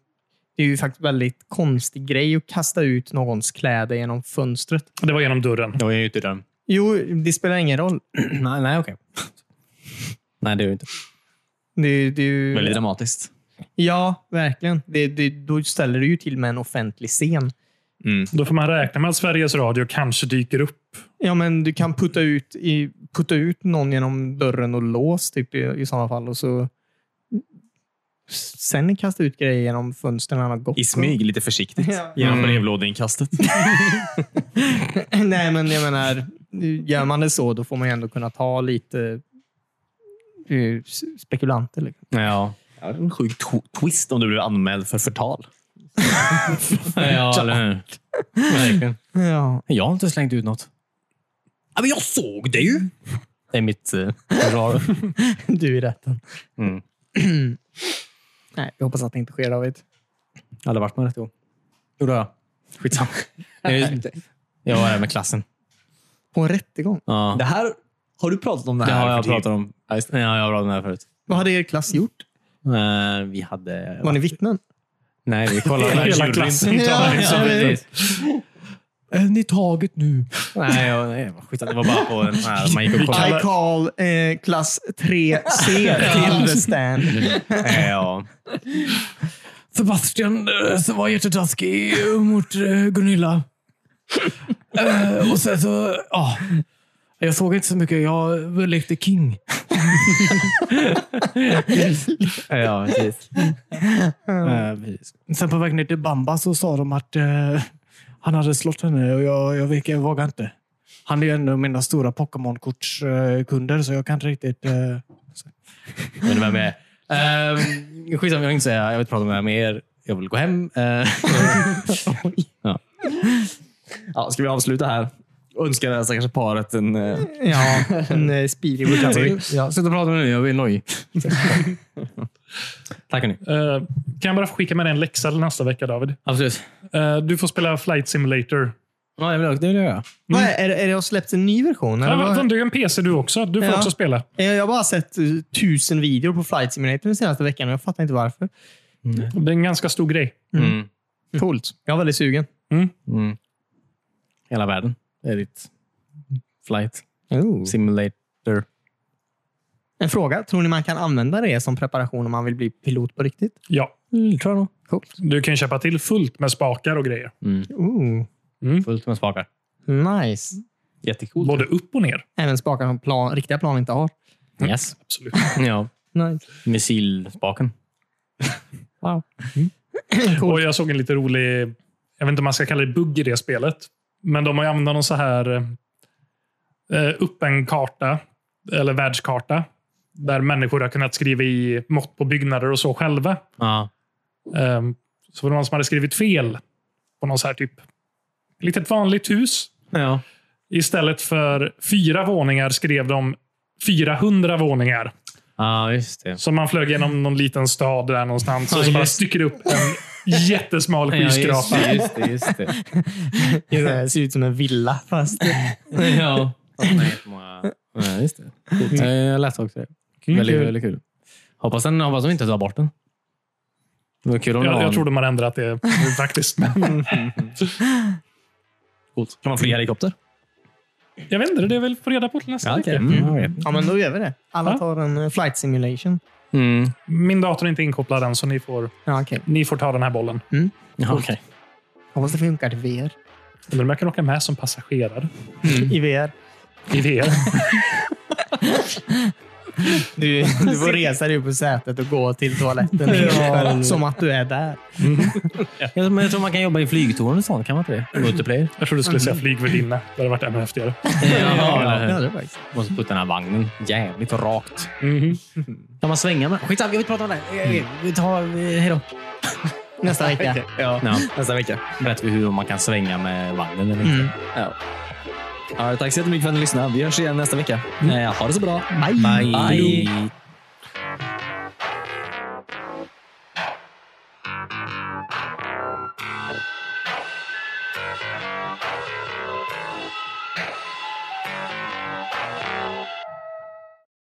B: det är ju faktiskt väldigt konstig grej att kasta ut någons kläder genom fönstret.
D: Det var genom dörren.
C: Jag är ju inte den.
B: Jo, det spelar ingen roll.
C: nej, nej, okej. Nej, det är ju inte.
B: Det, det, är ju-
A: Väldigt dramatiskt.
B: ja, verkligen. Det, det, då ställer du ju till med en offentlig scen.
D: Då får man räkna med att Sveriges Radio kanske dyker upp.
B: Ja, men du kan putta ut, i, putta ut någon genom dörren och lås typ, i, i sådana fall. Och så, sen kasta ut grejer genom fönstren när han har gått.
A: I smyg, lite försiktigt.
B: Ja.
A: Genom brevlådeinkastet.
B: Nej, men jag menar, gör man det så, då får man ju ändå kunna ta lite eh, s- spekulanter. Liksom.
C: Ja,
A: Ja, det är en sjuk to- twist om du blir anmäld för förtal.
C: ja eller hur? Verkligen.
B: Ja.
C: Jag har inte slängt ut något.
A: Ja, men jag såg det ju!
C: Det är mitt eh, försvar.
B: Du i rätten.
C: Mm.
B: Nej, jag hoppas att det inte sker, David.
C: aldrig varit med rättegång. Jo, det har jag. Skitsamma. Jag är- Jag var där med klassen.
B: På en rättegång?
C: Ja.
A: Det här har du pratat om det
C: Det
A: här.
C: har jag
A: för tid.
C: pratat om. Ja, just det. Ja, jag har pratat om det här förut.
B: Vad hade er klass gjort?
C: Eh, Vi hade...
B: Var ni vittnen?
C: Nej, vi kollade.
D: Hela klassen tar det.
C: Ja,
D: som ett-
C: Är ni taget nu? Nej, jag, nej skit, det var bara på en... Nej, man gick och kollade.
B: I call eh, klass 3C till the stand.
C: Eh, Ja. Sebastian eh, var jättetaskig eh, mot eh, Gunilla. Eh, Och sen så... ja. Jag såg inte så mycket. Jag lekte king. ja, precis. Eh, precis. Sen på väg ner till Bamba så sa de att eh, han hade slått henne och jag, jag, jag vågade inte. Han är ju en av mina stora Pokémon-kortskunder, så jag kan inte riktigt... eh, Men vem är... Uh, skitsamma, jag vill inte säga. Jag vill inte prata med med er. Jag vill gå hem. Eh,
A: Ja, ska vi avsluta här? Önskar det här stackars paret en... eh,
B: Ja, en eh, speedy recovery.
C: ja, sluta prata med mig nu. Jag blir nojig. Tack hörni.
D: Eh, kan jag bara få skicka med dig en läxa nästa vecka, David?
C: Absolut.
D: Eh, du får spela Flight Simulator.
C: Ja, det vill jag- det vill jag göra.
B: Vad är, är det- är det har släppt en ny version?
D: Ja,
B: Eller vad?
D: vänta, du är en PC du också. Du får
B: Ja.
D: också spela.
B: Eh, Jag har bara sett eh, tusen videor på Flight Simulator den senaste veckan och jag fattar inte varför.
D: Det är en ganska stor grej.
C: Mm.
B: Coolt. Jag är väldigt sugen.
C: Mm. Hela världen är ditt flight
B: Oh.
C: simulator.
B: En fråga. Tror ni man kan använda det som preparation om man vill bli pilot på riktigt?
D: Ja.
C: Mm, tror jag nog.
B: Coolt.
D: Du kan köpa till fullt med spakar och grejer.
B: Ooh.
C: Fullt med spakar.
B: Nice.
A: Jättekul.
D: Både upp och ner.
B: Även spakar som plan, riktiga plan inte har.
C: Mm. Yes.
D: Absolut.
C: Ja.
B: Nice.
C: Missilspaken.
B: Wow.
D: Och jag såg en lite rolig, jag vet inte om man ska kalla det bugg i det spelet. Men de har ju använt någon så här eh, öppen karta, eller världskarta. Där människor har kunnat skriva i mått på byggnader och så själva.
C: Ja.
D: Eh, så var det någon som hade skrivit fel på någon så här typ litet vanligt hus.
C: ja.
D: Istället för fyra våningar skrev de 400 våningar.
C: Ja, just det.
D: Så man flög genom någon liten stad där någonstans och så
C: Ja,
D: bara
C: just-
D: sticker upp en jättesmal skyskrapa.
C: Ja, just det. Just det.
B: Det ser ut som en villa fast...
C: ja. Nej, många... ja, just det. Coolt. Jag läste också det.
D: Mm,
C: väldigt,
D: kul.
C: väldigt kul. Hoppas, den, hoppas de inte tar bort den. Det var kul om det
D: Jag,
C: var
D: jag
C: en-
D: tror de har ändrat det nu faktiskt. Men
A: Coolt. Kan man flyga helikopter?
D: jag vet inte, det är väl få reda på till nästa vecka.
A: Mm.
C: Mm, jag vet.
B: Ja, men då gör vi det. Alla
D: Ja.
B: tar en eh, flight simulation.
C: Mm.
D: Min dator är inte inkopplad än, så ni får,
B: Ja, okej.
D: ni får ta den här bollen.
C: Ja, okej.
B: Hoppas det funkar till VR.
D: Undrar om jag kan åka med som passagerare
B: I VR.
D: i VR.
B: Du, du får resa dig upp på sätet och gå till toaletten. ja. Som att du är där.
C: Jag, men jag tror man kan jobba i flygtorn och sånt. Kan man inte det?
D: Mm.
C: Multiplayer.
D: Jag trodde du skulle
C: Mm.
D: säga flygvärdinna. Det hade varit ännu häftigare.
B: Ja,
C: Jaha,
B: det
C: eller
B: hade
C: hur?
B: du faktiskt.
C: Måste putta den här vagnen jävligt rakt.
D: Mhm.
C: Kan man svänga med Skitsamma, jag vill prata om det. här. Eh, Vi tar... eh, Hej då.
B: Nästa vecka.
A: Ja.
C: Ja,
A: Nästa vecka.
C: berättar vi hur man kan svänga med vagnen eller inte.
B: Mm.
A: Ja. Ja, tack så jättemycket för att ni lyssnade. Vi hörs igen nästa vecka. Eh, Ha det så bra.
B: Bye.
C: Mm. Bye.